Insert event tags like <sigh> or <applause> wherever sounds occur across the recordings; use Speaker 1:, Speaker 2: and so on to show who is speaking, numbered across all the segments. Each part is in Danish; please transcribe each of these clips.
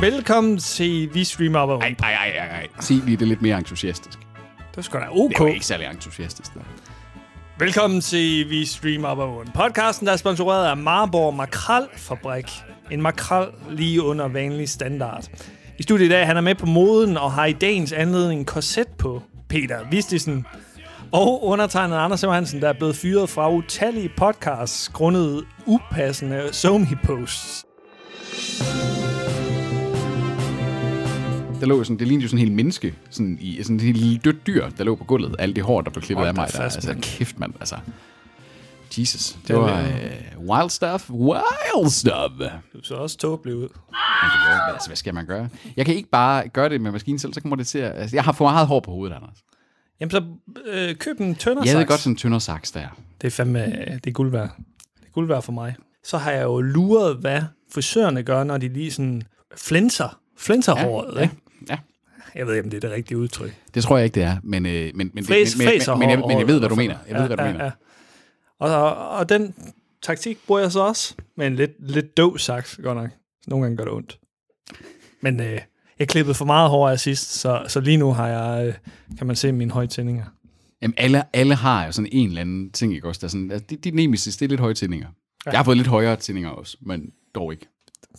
Speaker 1: Velkommen til Vi Streamer Op og
Speaker 2: Ej,
Speaker 1: Rundt.
Speaker 2: ej, ej, ej, ej. Sig lige det lidt mere entusiastisk. Det
Speaker 1: Det var sgu da
Speaker 2: er jo
Speaker 1: ok.
Speaker 2: ikke særlig entusiastisk. Der.
Speaker 1: Velkommen til Vi Streamer Op og Rundt. Podcasten, der er sponsoreret af Marborg Makrelfabrik. En makrel lige under vanlig standard. I studiet i dag, han er med på moden og har i dagens anledning en korset på Peter Vistisen. Og undertegnet Anders Simmer Hansen, der er blevet fyret fra utallige podcasts grundet upassende Somi-posts.
Speaker 2: der lå jo sådan, det lignede jo sådan en hel menneske, sådan, i, sådan en lille dødt dyr, der lå på gulvet. Alt det hår, der blev klippet
Speaker 1: Hold
Speaker 2: af mig.
Speaker 1: da
Speaker 2: Der,
Speaker 1: fast,
Speaker 2: altså,
Speaker 1: mand.
Speaker 2: kæft, mand. Altså, Jesus. Det,
Speaker 1: er
Speaker 2: var
Speaker 1: lidt-
Speaker 2: øh, wild stuff. Wild stuff.
Speaker 1: Du så også tåbelig ud.
Speaker 2: Altså, hvad skal man gøre? Jeg kan ikke bare gøre det med maskinen selv, så kommer det til at... Altså, jeg har for meget hår på hovedet, Anders.
Speaker 1: Jamen så øh, køb en tønder
Speaker 2: Jeg ved godt, sådan en tyndere saks der.
Speaker 1: Det er
Speaker 2: Mm.
Speaker 1: fandme, øh, det er guld værd. Det er guld værd for mig. Så har jeg jo luret, hvad frisørerne gør, når de lige sådan flinser. Flinser ja, håret,
Speaker 2: ja,
Speaker 1: ikke?
Speaker 2: ja.
Speaker 1: Jeg ved ikke, om det er det rigtige udtryk.
Speaker 2: Det tror jeg ikke, det er. Men, øh, men, men, men,
Speaker 1: Fræs,
Speaker 2: men, men,
Speaker 1: fræser
Speaker 2: men, men, jeg,
Speaker 1: hår-
Speaker 2: men jeg ved, hvad du
Speaker 1: hår-
Speaker 2: mener. Jeg ved, hvad du
Speaker 1: ja,
Speaker 2: mener.
Speaker 1: Ja. Og, og, og den taktik bruger jeg så også, med en lidt, lidt døv saks, godt nok. Nogle gange gør det ondt. Men øh, jeg klippede for meget hår af sidst, så, så lige nu har jeg, øh, kan man se mine højtændinger.
Speaker 2: Jamen, alle, alle har jo sådan en eller anden ting, ikke også? Der er sådan, altså, dit, dit nemesis, det er lidt høje tændinger.
Speaker 1: Ja.
Speaker 2: Ja. Jeg har fået lidt højere tændinger også, men dog ikke.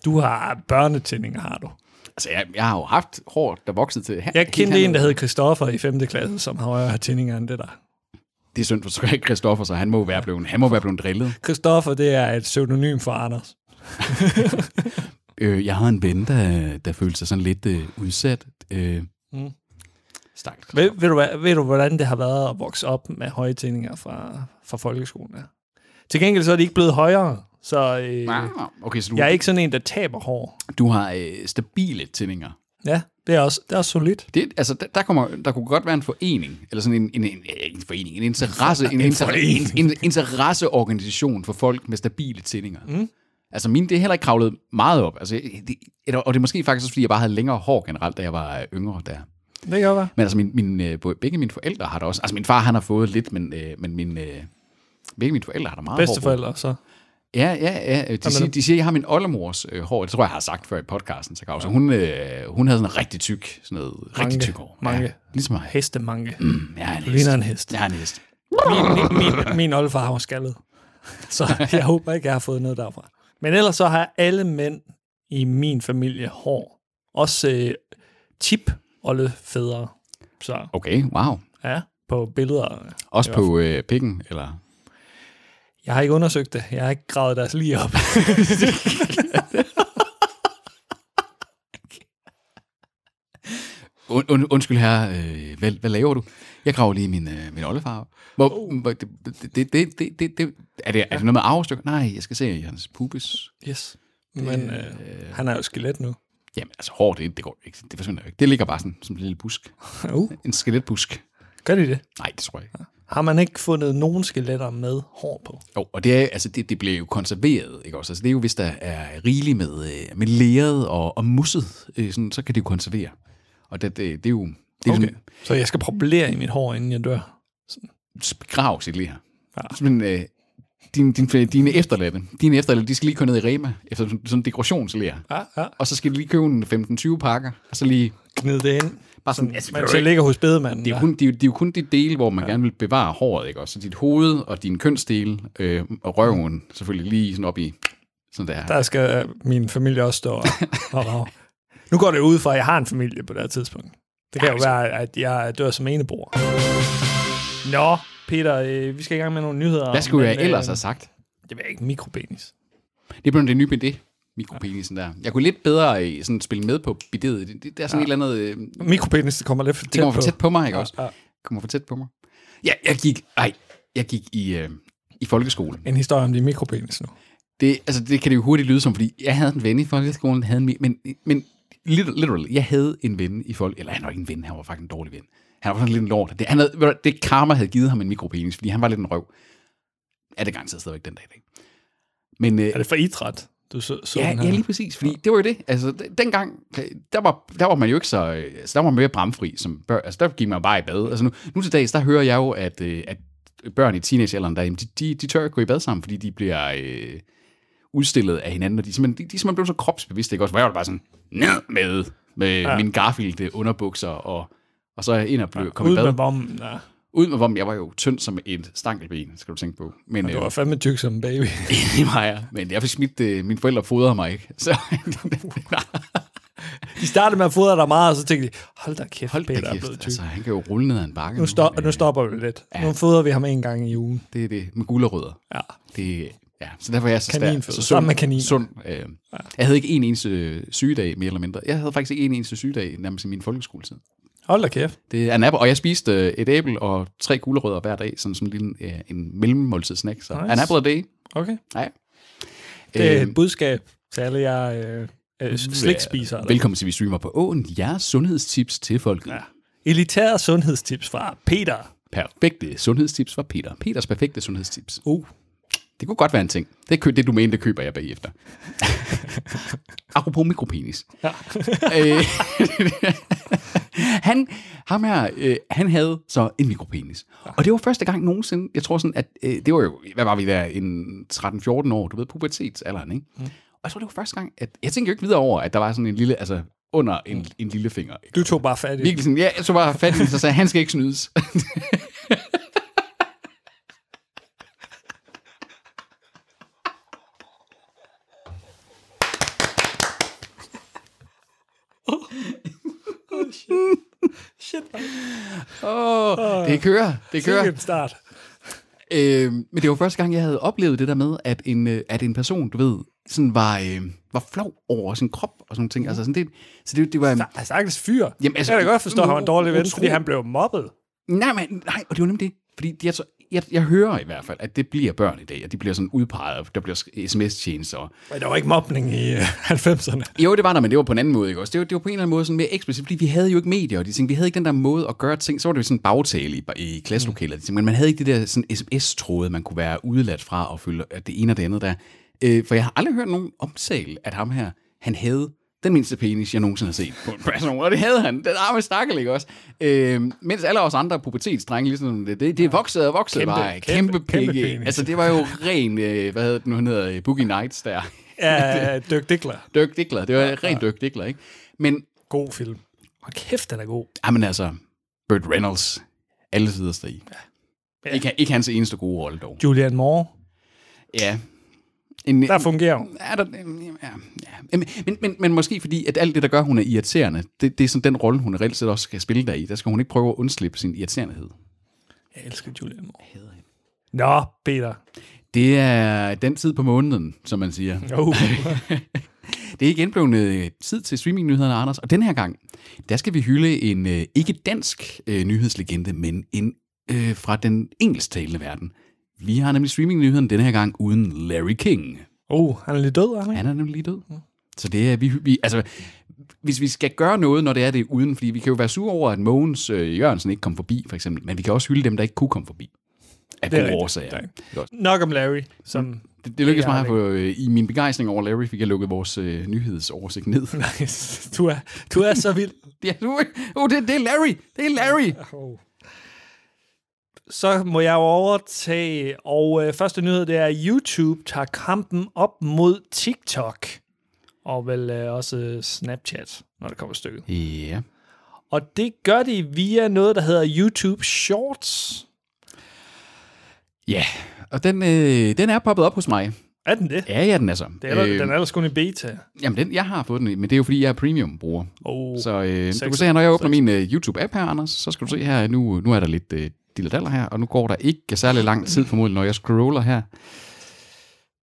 Speaker 1: Du har børnetændinger, har du.
Speaker 2: Altså, jeg, jeg har jo haft hår, der voksede til her.
Speaker 1: Jeg
Speaker 2: helt
Speaker 1: kendte
Speaker 2: hernede.
Speaker 1: en, der hed Christoffer i 5. klasse, som har højere tændinger end det der.
Speaker 2: Det er synd for Skræk Christoffer, så han må jo være blevet, han må være blevet drillet.
Speaker 1: Christoffer, det er et pseudonym for Anders.
Speaker 2: Øh, jeg har en ven, der, der følte sig sådan lidt øh, udsat. Øh,
Speaker 1: Mm.
Speaker 2: mm. Stakkels.
Speaker 1: Ved, ved, du, hvad- ved du, hvordan det har været at vokse op med høje tændinger fra, fra folkeskolen? Ja. Til gengæld så er de ikke blevet højere, så øh,
Speaker 2: Wow. Okay, så du,
Speaker 1: jeg er ikke sådan en, der taber hår.
Speaker 2: du har øh, stabile tændinger.
Speaker 1: Ja, det er også, det er også solidt.
Speaker 2: Det, altså, der, der, kommer, der kunne godt være en forening, eller sådan en, en, en, ja, ikke en forening, en, interesse, <laughs> en, inter, en, en interesseorganisation for folk med stabile tændinger. Mm. Altså, mine, det er heller ikke kravlet meget op. Altså, det, eller- og det er måske faktisk også, fordi jeg bare havde længere hår generelt, da jeg var øh, yngre der.
Speaker 1: Det kan godt være.
Speaker 2: Men altså, min, min, øh, både- begge mine forældre har der også. Altså, min far, han har fået lidt, men, øh, men min, øh, begge mine forældre har der meget hår. på.
Speaker 1: Bedsteforældre, så.
Speaker 2: Ja, ja, ja. De, siger, de siger, at jeg har min oldemors øh, hår. Det tror jeg, jeg har sagt før i podcasten. Så, ja. så hun, øh, hun havde sådan en rigtig tyk, sådan noget, rigtig tyk hår. Ja,
Speaker 1: Manke.
Speaker 2: ligesom mig.
Speaker 1: Hestemanke.
Speaker 2: <clears throat> Jeg er en
Speaker 1: Du
Speaker 2: hest.
Speaker 1: ligner en hest.
Speaker 2: Jeg er en hest.
Speaker 1: Min, min, min, min oldefar var skaldet. Så jeg håber ikke, jeg har fået noget derfra. Men ellers så har alle mænd i min familie hår. Også øh, tip og lidt fædre. Så
Speaker 2: Okay, wow.
Speaker 1: ja, på billeder.
Speaker 2: Også på øh, pikken, eller?
Speaker 1: Jeg har ikke undersøgt det. Jeg har ikke gravet deres lige op.
Speaker 2: Und, und, undskyld her, øh, hvad, hvad laver du? Jeg graver lige min, øh, min oldefar. op. Hvor,
Speaker 1: Oh.
Speaker 2: hvor, det, det, det, det, det, det, er, det, er det noget med arvestykker? Nej, jeg skal se hans pubis.
Speaker 1: Yes. Men øh, han er jo skelet
Speaker 2: <laughs>
Speaker 1: nu.
Speaker 2: Jamen, altså hår, det, det går ikke. Det forsvinder jo ikke. Det ligger bare sådan som en lille busk.
Speaker 1: Uh,
Speaker 2: En skeletbusk.
Speaker 1: gør de det?
Speaker 2: Nej, det tror jeg ikke.
Speaker 1: Har man ikke fundet nogen skeletter med hår på?
Speaker 2: Jo, og det, er, altså, det, det bliver jo konserveret, ikke også? Altså, det er jo, hvis der er rigeligt med, øh, med læret og, og musset, øh, sådan, så kan det jo konservere. Og det, det, det er jo... Det er okay. sådan,
Speaker 1: Så jeg skal propellere i mit hår, inden jeg dør.
Speaker 2: begrav sit lige her.
Speaker 1: Ja.
Speaker 2: Ja. Men, øh, din, din, dine efterladte, dine efterladte, de skal lige køre ned i Rema, efter sådan sådan en dekorationslærer.
Speaker 1: Ja, ja.
Speaker 2: Og så skal de lige købe en 15-20 pakker, og så lige...
Speaker 1: Gnid det ind.
Speaker 2: Bare sådan, altså,
Speaker 1: Men
Speaker 2: det
Speaker 1: så
Speaker 2: er jo ikke-
Speaker 1: ligger hos bedemanden.
Speaker 2: det er, jo kun, det, er jo, det er jo kun de dele, hvor man ja. gerne vil bevare håret, ikke også? Så dit hoved og dine kønsdele øh, og røven selvfølgelig lige sådan op i sådan der.
Speaker 1: Der skal øh, min familie også stå og,
Speaker 2: <laughs>
Speaker 1: og rave. Nu går det ud fra, at jeg har en familie på det her tidspunkt. Det kan jo være, at jeg dør som enebror. Nå, Peter, øh, vi skal i gang med nogle nyheder.
Speaker 2: Hvad skulle
Speaker 1: men,
Speaker 2: jeg ellers
Speaker 1: øh,
Speaker 2: have sagt?
Speaker 1: Det ved jeg ikke, mikropenis.
Speaker 2: Det blev det nye med det, mikropenisen der. Jeg kunne lidt bedre øh, sådan spille med på bidet. Det, det, det er sådan ja. et eller andet... Øh, det
Speaker 1: Mikropenis, det kommer lidt for tæt
Speaker 2: kommer for
Speaker 1: på.
Speaker 2: tæt på mig, ikke også?
Speaker 1: Ja, ja.
Speaker 2: Kommer for tæt på mig. Ja, jeg gik... Ej, jeg gik i, øh, i folkeskolen.
Speaker 1: En historie om din mikropenis nu.
Speaker 2: Det, altså, det kan det jo hurtigt lyde som, fordi jeg havde en ven i folkeskolen, havde en, mi- men, men lit- literally, jeg havde en ven i folk, eller han var ikke en ven, han var faktisk en dårlig ven. Han var sådan lidt en lort. Det, han havde, ved du hvad, det karma havde givet ham en mikropenis, fordi han var lidt en røv. Er det garanteret stadigvæk den dag i dag. Men, øh,
Speaker 1: Er det for idræt? Du så, så
Speaker 2: ja,
Speaker 1: den her?
Speaker 2: ja, lige præcis, fordi det var jo det. Altså, d- dengang, der var, der var man jo ikke så, øh, altså, der var man mere bramfri som børn. Altså, der gik man bare i bad. Altså, nu, nu til dags, der hører jeg jo, at, øh, at børn i teenagealderen, der, jamen, de, de, de tør ikke gå i bad sammen, fordi de bliver øh, udstillet af hinanden, og de, er simpelthen, de, de er simpelthen blev så kropsbevidste, ikke også? Hvor jeg var bare sådan, ned med, med ja. min Garfield øh, underbukser, og, og så ind og blev, kom i
Speaker 1: Ud
Speaker 2: bad.
Speaker 1: med bomben. Ja.
Speaker 2: Ud med vom, jeg var jo tynd som et stankelben, skal du tænke på. Men,
Speaker 1: Det
Speaker 2: øh,
Speaker 1: var fandme tyk som en baby.
Speaker 2: <laughs> det var jeg. Men jeg fik smidt, øh, mine forældre fodrede mig ikke. Så, <laughs>
Speaker 1: Uh. De startede med at fodre dig meget, og så tænkte de, hold da kæft,
Speaker 2: hold
Speaker 1: Peter
Speaker 2: da
Speaker 1: er blevet
Speaker 2: kæft,
Speaker 1: tyk.
Speaker 2: altså, han kan jo rulle ned ad en bakke. Øh,
Speaker 1: Nu, stop, nu stopper vi lidt. Nu fodrer vi ham en gang i ugen.
Speaker 2: Det er det, med gulerødder.
Speaker 1: Ja.
Speaker 2: Det, ja, så derfor er jeg så
Speaker 1: Kaninføde.
Speaker 2: Så
Speaker 1: Sammen med kaniner.
Speaker 2: Sund, øh, Jeg havde ikke en eneste øh, sygedag, mere eller mindre. Jeg havde faktisk ikke en eneste sygedag, nærmest i min folkeskoletid.
Speaker 1: Hold da kæft.
Speaker 2: Det er nap, og jeg spiste øh, et æble og tre gulerødder hver dag, sådan som en lille øh, en mellemmåltidssnack. Så
Speaker 1: Nice.
Speaker 2: nice. an apple a day.
Speaker 1: Okay.
Speaker 2: Nej. Øh,
Speaker 1: Det er
Speaker 2: Øhm.
Speaker 1: et budskab til alle jer øh, øh, slikspisere. derude.
Speaker 2: Velkommen til Vi Streamer på Åen. Jeres sundhedstips til folket. Ja.
Speaker 1: Elitære sundhedstips fra Peter.
Speaker 2: Perfekte sundhedstips fra Peter. Peters perfekte sundhedstips.
Speaker 1: Uh.
Speaker 2: Det kunne godt være en ting. Det, kø- det du mente, det køber jeg <laughs> bagefter. Apropos mikropenis.
Speaker 1: Ja.
Speaker 2: <laughs> Øh, han, ham her, øh, han havde så en mikropenis. Og det var første gang nogensinde, jeg tror sådan, at øh, det var jo, hvad var vi der, en 13-14 år, du ved, pubertetsalderen, ikke? Mm. Og jeg tror, det var første gang, at jeg tænkte jo ikke videre over, at der var sådan en lille, altså under en, en lille finger.
Speaker 1: Du tog bare fat i det.
Speaker 2: Virkelig sådan, ja, så var jeg fat i den, så sagde jeg, han skal ikke snydes.
Speaker 1: Shit, man.
Speaker 2: Åh, det kører, det kører.
Speaker 1: Sikke en start.
Speaker 2: Øh, men det var første gang, jeg havde oplevet det der med, at en, øh, at en person, du ved, sådan var, øh, var flov over sin krop og sådan nogle ting. Altså sådan det, så det, det var...
Speaker 1: Der er stakkels fyr.
Speaker 2: Jamen, altså,
Speaker 1: jeg kan da godt forstå, at han var en dårlig ven,
Speaker 2: utro-
Speaker 1: fordi han blev mobbet.
Speaker 2: Nej, men, nej, og det var nemlig det. Fordi de, jeg, jeg, jeg hører i hvert fald, at det bliver børn i dag, og de bliver sådan udpeget, og der bliver sk- sms-tjenester. og-
Speaker 1: Men der var ikke mobning i øh, <laughs> 90'erne.
Speaker 2: Jo, det var der, men det var på en anden måde, ikke også? Det var, det var på en eller anden måde sådan mere eksplicit, fordi vi havde jo ikke medier, og de ting, vi havde ikke den der måde at gøre ting. Så var det jo sådan en bagtale i, i klasselokalet, mm. men man havde ikke det der sådan sms-tråde, man kunne være udeladt fra og følge at det ene og det andet der. Øh, for jeg har aldrig hørt nogen omtale, at ham her, han havde den mindste penis, jeg nogensinde har set på en person, og det havde han. Den arme stakkel, ikke også? Øh, mens alle os andre pubertetsdrenge, ligesom det, det, det voksede og voksede
Speaker 1: Kæmpe-
Speaker 2: bare.
Speaker 1: kæmpe-
Speaker 2: Kæmpe,
Speaker 1: kæmpe
Speaker 2: kæmpe, kæmpe
Speaker 1: penis.
Speaker 2: Altså, det var jo ren, øh, hvad hedder det nu, han hedder, øh, Boogie Nights der.
Speaker 1: <laughs> Ja, øh, Dirk Dickler.
Speaker 2: Dirk Dickler, det var rent Dirk Dickler, ikke? Men
Speaker 1: God film. Og kæft, den er god.
Speaker 2: Jamen altså, Burt Reynolds, alle sider der i. Ja. Ikke, ikke hans eneste gode rolle dog.
Speaker 1: Julian Moore,
Speaker 2: Ja. En,
Speaker 1: der fungerer hun.
Speaker 2: er der, ja, ja. Men, men, men, men måske fordi, at alt det, der gør, hun er irriterende, det, det er sådan den rolle, hun reelt set også skal spille der i. Der skal hun ikke prøve at undslippe sin irriterendehed.
Speaker 1: Jeg elsker Julian Moore.
Speaker 2: hader hende.
Speaker 1: Nå, Peter.
Speaker 2: Det er den tid på måneden, som man siger.
Speaker 1: Uh,
Speaker 2: Det er igen blevet øh, tid til streamingnyhederne, Anders. Og den her gang, der skal vi hylde en øh, ikke dansk øh, nyhedslegende, men en øh, fra den engelsktalende verden. Vi har nemlig streamingnyheden den her gang uden Larry King.
Speaker 1: <laughs> uh han er lidt død, er han ikke?
Speaker 2: Han er nemlig lige død.
Speaker 1: Mm.
Speaker 2: Så det er, vi, vi, altså, hvis vi skal gøre noget, når det er det er uden, fordi vi kan jo være sure over, at Mogens øh, Jørgensen ikke kom forbi, for eksempel, men vi kan også hylde dem, der ikke kunne komme forbi. Af
Speaker 1: Det er
Speaker 2: gode
Speaker 1: rigtigt.
Speaker 2: årsager.
Speaker 1: Tak.
Speaker 2: Ikke også?
Speaker 1: Nok om Larry, som... <laughs>
Speaker 2: Det, det lykkedes
Speaker 1: Det er
Speaker 2: mig at få, øh, i min begejstring over Larry, fik jeg lukket vores øh,
Speaker 1: <laughs>
Speaker 2: nyhedsoversigt ned.
Speaker 1: du, er, du er så <laughs> vild.
Speaker 2: <laughs> Ja, nu, oh, det, det er Larry. Det er Larry.
Speaker 1: Oh. Så må jeg jo overtage, og øh, første nyhed, det er, at YouTube tager kampen op mod TikTok, og vel øh, også øh, Snapchat, når det kommer til stykket.
Speaker 2: Ja.
Speaker 1: Og det gør de via noget, der hedder YouTube Shorts.
Speaker 2: Ja, og den, øh, den er poppet op hos mig.
Speaker 1: Er den det?
Speaker 2: Ja, ja, den er så.
Speaker 1: det er, øh, den er ellers kun i beta.
Speaker 2: Jamen, den, jeg har fået den, men det er jo, fordi jeg er premium-bruger.
Speaker 1: Oh.
Speaker 2: Så øh, du kan
Speaker 1: Sexet.
Speaker 2: se her, når jeg åbner min øh, YouTube-app her, Anders, så skal du se her, nu, nu er der lidt øh, dilledaller her, og nu går der ikke særlig lang tid formodentlig, når jeg scroller her.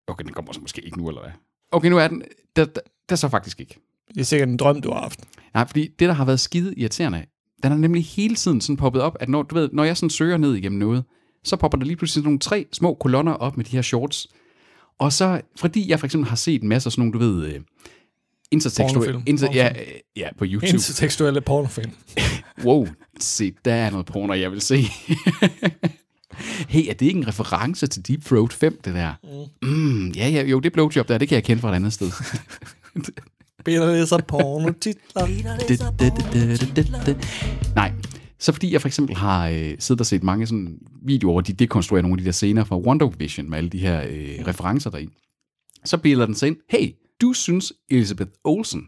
Speaker 2: Okay, den kommer så måske ikke nu, eller hvad? Okay, nu er den. Der, der, der er så faktisk ikke.
Speaker 1: Det er sikkert en drøm, du har <laughs> haft.
Speaker 2: Nej, fordi det, der har været skide irriterende, den har nemlig hele tiden sådan poppet op, at når, du ved, når jeg sådan søger ned igennem noget, så popper der lige pludselig sådan nogle tre små kolonner op med de her shorts. Og så, fordi jeg for eksempel har set masser af sådan nogle, du ved, øh, intertekstuelle...
Speaker 1: Pornofilm.
Speaker 2: Inter, ja, øh, ja, på YouTube.
Speaker 1: Intertekstuelle pornofilm.
Speaker 2: wow, se, der er noget porno, jeg vil se. hey, er det ikke en reference til Deep Throat 5, det der? Mm, ja, ja, jo, det blowjob der, det kan jeg kende fra et andet sted.
Speaker 1: Peter læser pornotitler.
Speaker 2: Nej, så fordi jeg for eksempel har øh, siddet og set mange sådan videoer, hvor de dekonstruerer nogle af de der scener fra Wonder Vision med alle de her øh, referencer deri. Så bilder den sig ind, hey, du synes Elizabeth Olsen,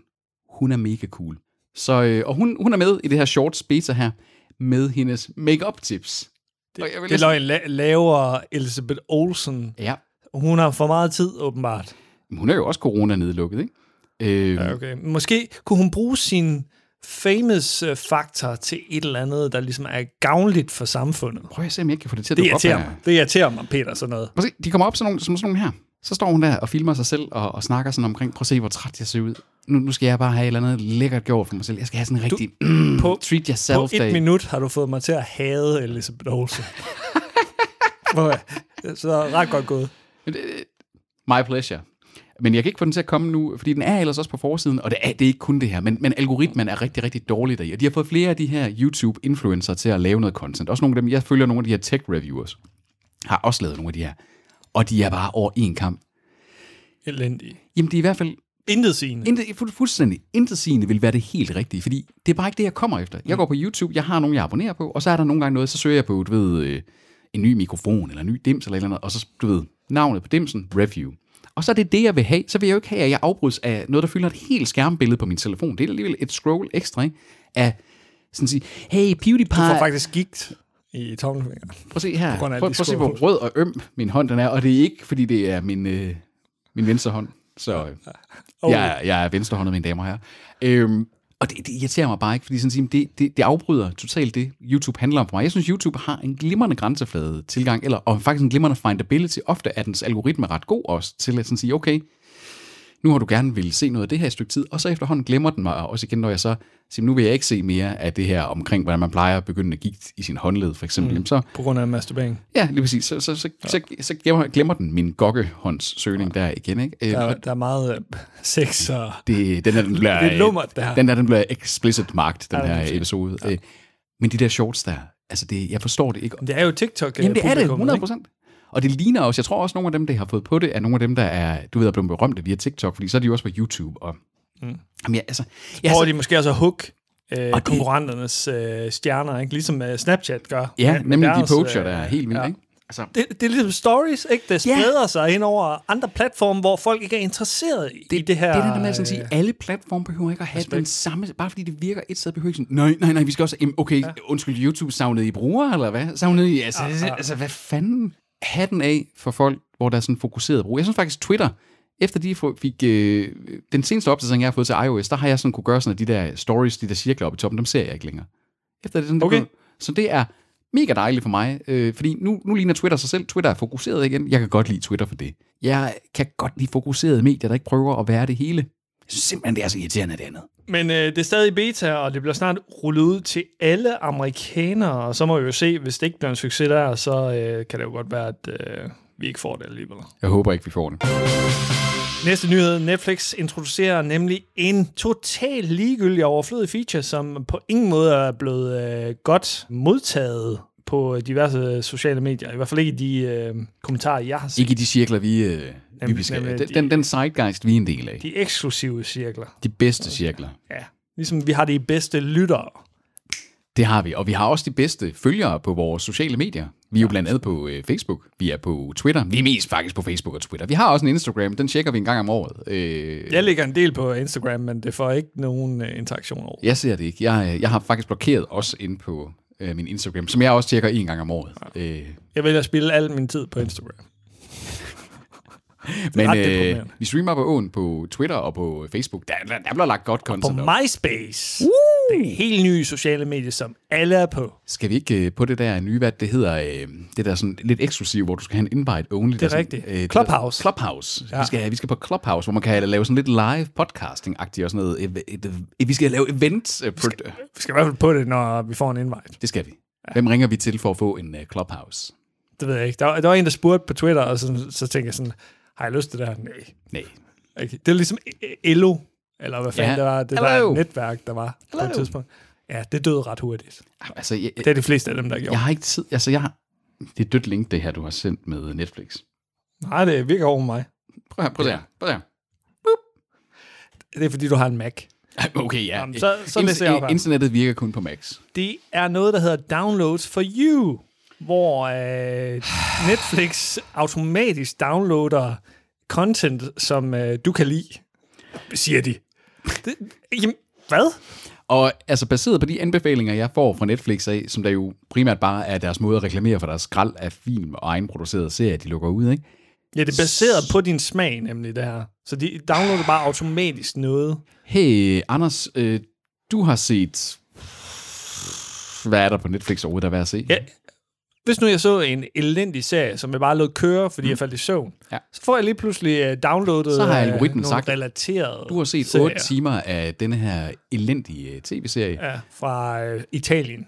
Speaker 2: hun er mega cool. Så, øh, og hun, hun er med i det her shorts beta her, med hendes make-up tips.
Speaker 1: Det,
Speaker 2: Og jeg vil
Speaker 1: det
Speaker 2: næsten-
Speaker 1: løgn la- laver Elizabeth Olsen.
Speaker 2: Ja,
Speaker 1: Hun har for meget tid, åbenbart.
Speaker 2: men hun er jo også corona-nedlukket, ikke? Øh,
Speaker 1: Ja, okay. Måske kunne hun bruge sin famous øh, faktor til et eller andet, der ligesom er gavnligt for samfundet.
Speaker 2: Prøv at se, om jeg ikke kan få det til at
Speaker 1: Det
Speaker 2: dukke op
Speaker 1: irriterer
Speaker 2: her.
Speaker 1: mig. Det irriterer mig, Peter, sådan noget.
Speaker 2: Prøv at se, de kommer op sådan nogle, som sådan nogle her. Så står hun der og filmer sig selv og, og snakker sådan omkring, prøv at se, hvor træt jeg ser ud. Nu, nu skal jeg bare have et eller andet lækkert gjort for mig selv. Jeg skal have sådan en rigtig mm,
Speaker 1: <clears throat> på-
Speaker 2: treat
Speaker 1: På
Speaker 2: yourself
Speaker 1: et
Speaker 2: day.
Speaker 1: minut har du fået mig til at hade Elizabeth
Speaker 2: <laughs>
Speaker 1: Olsen. Hvor jeg- Så ret godt gået.
Speaker 2: My pleasure. Men jeg kan ikke få den til at komme nu, fordi den er ellers også på forsiden, og det er, det er ikke kun det her, men, men algoritmen er rigtig, rigtig dårlig deri, og de har fået flere af de her YouTube-influencer til at lave noget content. Også nogle af dem, jeg følger nogle af de her tech-reviewers, har også lavet nogle af de her, og de er bare over en kamp.
Speaker 1: Elendig.
Speaker 2: Jamen, det er i hvert fald
Speaker 1: Intet sigende.
Speaker 2: Intet, fu- fuldstændig intetsigende vil være det helt rigtige, fordi det er bare ikke det, jeg kommer efter.
Speaker 1: Mm.
Speaker 2: Jeg går på YouTube, jeg har nogen, jeg abonnerer på, og så er der nogle gange noget, så søger jeg på, du ved, øh, en ny mikrofon, eller en ny dims, eller et eller andet, og så, du ved, navnet på dimsen, review. Og så er det det, jeg vil have. Så vil jeg jo ikke have, at jeg afbrydes af noget, der fylder et helt skærmbillede på min telefon. Det er alligevel et scroll ekstra, ikke? Af sådan at sige, hey, PewDiePie,
Speaker 1: Du får faktisk gigt i tommelfingeren.
Speaker 2: prøv at se her.
Speaker 1: grund af alle
Speaker 2: Prøv,
Speaker 1: de
Speaker 2: prøv at se,
Speaker 1: scroll.
Speaker 2: hvor rød og øm min hånd den er, og det er ikke, fordi det er min, øh, min venstre hånd. Så øh,
Speaker 1: Okay.
Speaker 2: jeg, er- jeg er venstrehåndet, mine damer og herrer. Øhm, og det, det irriterer mig bare ikke, fordi sådan at sige, det, det, det afbryder totalt det, YouTube handler om for mig. Jeg synes, YouTube har en glimrende grænseflade tilgang, eller, og faktisk en glimrende findability. Ofte er dens algoritme ret god også til at sådan sige, okay, nu har du gerne vil se noget af det her et stykke tid, og så efterhånden glemmer den mig også igen, når jeg så siger, nu vil jeg ikke se mere af det her omkring, hvordan man plejer at begynde at gigte i sin håndled, for eksempel. Mm. Så,
Speaker 1: På grund af masturbering.
Speaker 2: ja, lige præcis. Så, så, så, så, så glemmer, glemmer den min gokkehåndssøgning der igen. Ikke? Øh,
Speaker 1: Der, der er meget øh, sex og...
Speaker 2: det, den her, den bliver,
Speaker 1: Det er lummert, det her.
Speaker 2: Den der, den bliver explicit marked, den
Speaker 1: Ja, det
Speaker 2: her
Speaker 1: må jeg sige.
Speaker 2: episode. Ja. Men de der shorts der, altså det, jeg forstår det ikke.
Speaker 1: Men Det er jo TikTok. øh,
Speaker 2: Jamen det er det,
Speaker 1: publikummet,
Speaker 2: 100
Speaker 1: ikke?
Speaker 2: procent. Og det ligner også, jeg tror også, nogle af dem, der har fået på det, er nogle af dem, der er, du ved, er blevet berømte via TikTok, fordi så er de jo også på YouTube. Og, mm. Jamen, jeg, altså, jeg, er
Speaker 1: Prøver
Speaker 2: så-
Speaker 1: de måske også at hook øh,
Speaker 2: det-
Speaker 1: konkurrenternes øh, stjerner, ikke? ligesom øh, Snapchat gør.
Speaker 2: ja,
Speaker 1: med
Speaker 2: nemlig de
Speaker 1: deres,
Speaker 2: poacher,
Speaker 1: øh,
Speaker 2: der er helt vildt,
Speaker 1: ja.
Speaker 2: ja. ikke? Altså,
Speaker 1: Det, det er ligesom stories, ikke? der
Speaker 2: Ja.
Speaker 1: spreder sig hen over andre platforme, hvor folk ikke er interesseret i det her.
Speaker 2: Det er det der med at sådan
Speaker 1: øh,
Speaker 2: sige, alle platforme behøver ikke at have den samme, bare fordi det virker et sted, behøver ikke sådan, nej, nej, nej, vi skal også, jamen, okay, ja. undskyld, YouTube savnede I brugere, eller hvad? Savnede I, altså, ja, ja. altså hvad fanden? Hatten af for folk, hvor der er sådan fokuseret brug. Jeg synes faktisk, Twitter, efter de få- fik, øh, den seneste opdatering, jeg har fået til iOS, der har jeg sådan kunne gøre sådan, at de der stories, de der cirkler oppe i toppen, dem ser jeg ikke længere. Efter det sådan, det
Speaker 1: Okay.
Speaker 2: blev- Så det er mega dejligt for mig, øh, fordi nu, nu ligner Twitter sig selv. Twitter er fokuseret igen. Jeg kan godt lide Twitter for det. Jeg kan godt lide fokuserede medier, der ikke prøver at være det hele. Jeg synes simpelthen, det er så irriterende det andet.
Speaker 1: Men øh, det er stadig i beta, og det bliver snart rullet ud til alle amerikanere, og så må vi jo se, hvis det ikke bliver en succes der, så øh, kan det jo godt være, at øh, vi ikke får det alligevel.
Speaker 2: Jeg håber ikke, vi får det.
Speaker 1: Næste nyhed, Netflix introducerer nemlig en total ligegyldig og overflødig feature, som på ingen måde er blevet øh, godt modtaget på diverse øh, sociale medier. I hvert fald ikke i de øh, kommentarer, jeg har set.
Speaker 2: Ikke i de cirkler, vi, øh, vi
Speaker 1: Jamen,
Speaker 2: beskriver.
Speaker 1: jamen,
Speaker 2: Den,
Speaker 1: de-
Speaker 2: den, den sidegeist, vi er en del af.
Speaker 1: De eksklusive cirkler.
Speaker 2: De bedste cirkler.
Speaker 1: Ja. Ligesom vi har de bedste lyttere.
Speaker 2: Det har vi. Og vi har også de bedste følgere på vores sociale medier. Vi er jo blandt andet på øh, Facebook. Vi er på Twitter. Vi er mest faktisk på Facebook og Twitter. Vi har også en Instagram. Den tjekker vi en gang om året. Øh,
Speaker 1: Jeg lægger en del på Instagram, men det får ikke nogen øh, interaktion over.
Speaker 2: Jeg ser det ikke. Jeg, jeg har faktisk blokeret også inde på øh, min Instagram, som jeg også tjekker en gang om året. Øh,
Speaker 1: Jeg vælger at spille al min tid på Instagram.
Speaker 2: men
Speaker 1: ret deprimerende.
Speaker 2: øh, vi streamer på åen på Twitter og på Facebook. Der, der, der bliver lagt godt
Speaker 1: På
Speaker 2: content op.
Speaker 1: MySpace. Det er helt nye sociale medier, som alle er på.
Speaker 2: Skal vi ikke øh, på det der nye, hvad det hedder, øh, det der sådan lidt eksklusive, hvor du skal have en invite only. øh, Det
Speaker 1: er rigtigt. Clubhouse.
Speaker 2: Clubhouse. Ja. Vi, skal, vi skal på Clubhouse, hvor man kan lave sådan lidt live podcasting-agtigt og sådan noget. Et, et, et, vi skal lave event. øh, pro-
Speaker 1: Vi skal i hvert fald på det, når vi får en invite.
Speaker 2: Det skal vi. Hvem ringer vi til for at få en øh, Clubhouse?
Speaker 1: Det ved jeg ikke. Der var, der var en, der spurgte på Twitter, og så, så tænkte jeg sådan, har jeg lyst til det her? Nej.
Speaker 2: Nej.
Speaker 1: Okay. Det er ligesom Elo, eller hvad fanden
Speaker 2: Ja.
Speaker 1: ja. det var, det
Speaker 2: Hello.
Speaker 1: der netværk, der var Hello. på et tidspunkt. Ja, det døde ret hurtigt.
Speaker 2: Altså, jeg,
Speaker 1: Det er de fleste af dem, der gjorde.
Speaker 2: Jeg har ikke tid. Altså, jeg har... Det er dødt link, det her, du har sendt med Netflix.
Speaker 1: Ja. Nej, det virker over mig.
Speaker 2: Prøv her, prøv her, prøv her.
Speaker 1: Det er, fordi du har en Mac.
Speaker 2: <laughs> Okay, ja.
Speaker 1: Jamen, så- så læser jeg op her.
Speaker 2: Internettet virker kun på Max.
Speaker 1: det er noget, der hedder Downloads for <sighs> You, hvor øh, Netflix automatisk downloader content, som øh, du kan lide, siger de. Det, jamen, hvad?
Speaker 2: Og altså baseret på de anbefalinger, jeg får fra Netflix af, som der jo primært bare er deres måde at reklamere for deres skrald af film og egenproducerede serier, de lukker ud, ikke?
Speaker 1: Ja, det er baseret på din smag, nemlig det her. Så de downloader bare automatisk noget.
Speaker 2: Hey, Anders, øh, du har set... Hvad er der på Netflix overhovedet, der er værd at se?
Speaker 1: Ja. Hvis nu jeg så en elendig serie, som jeg bare lod køre, fordi mm. jeg faldt i søvn,
Speaker 2: Ja.
Speaker 1: så får jeg lige pludselig uh, downloadet
Speaker 2: Så har
Speaker 1: øh,
Speaker 2: algoritmen
Speaker 1: nogle
Speaker 2: sagt,
Speaker 1: relaterede
Speaker 2: Du har set
Speaker 1: serier
Speaker 2: 8 timer af denne her elendige øh, tv-serie.
Speaker 1: Ja, fra uh, Italien.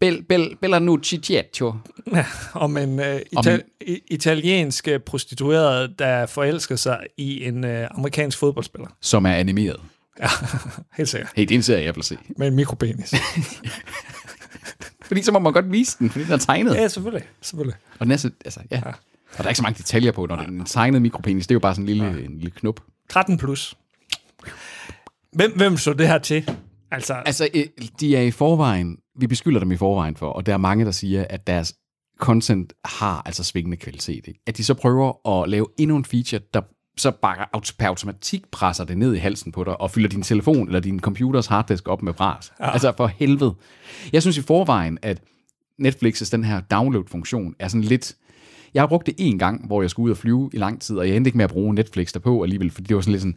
Speaker 2: Bel, bel, bella nu ciccietto.
Speaker 1: Om en uh, ita- i- italiensk øh, prostitueret, der forelsker sig i en uh, amerikansk fodboldspiller.
Speaker 2: Som er animeret.
Speaker 1: Ja, helt sikkert.
Speaker 2: Hey, det er en serie, jeg vil se.
Speaker 1: Med en mikropenis.
Speaker 2: Fordi så må man godt vise den, fordi den er tegnet.
Speaker 1: <laughs> ja, selvfølgelig. selvfølgelig.
Speaker 2: Og den er så, altså, ja. Og der er ikke så mange detaljer på, når den er tegnet mikropenis. Det er jo bare sådan en lille, en lille knup.
Speaker 1: 13 plus. Hvem, hvem så det her til? Altså,
Speaker 2: Altså, øh, de er i forvejen, vi beskylder dem i forvejen for, og der er mange, der siger, at deres content har altså svingende kvalitet. Ikke? At de så prøver at lave endnu en feature, der så bare aut- per automatik presser det ned i halsen på dig, og fylder din telefon eller din computers harddisk op med bras. Ja. Altså for helvede. Jeg synes i forvejen, at Netflix's den her download-funktion er sådan lidt... Jeg har brugt det en gang, hvor jeg skulle ud og flyve i lang tid, og jeg endte ikke med at bruge Netflix derpå alligevel, fordi det var sådan lidt sådan,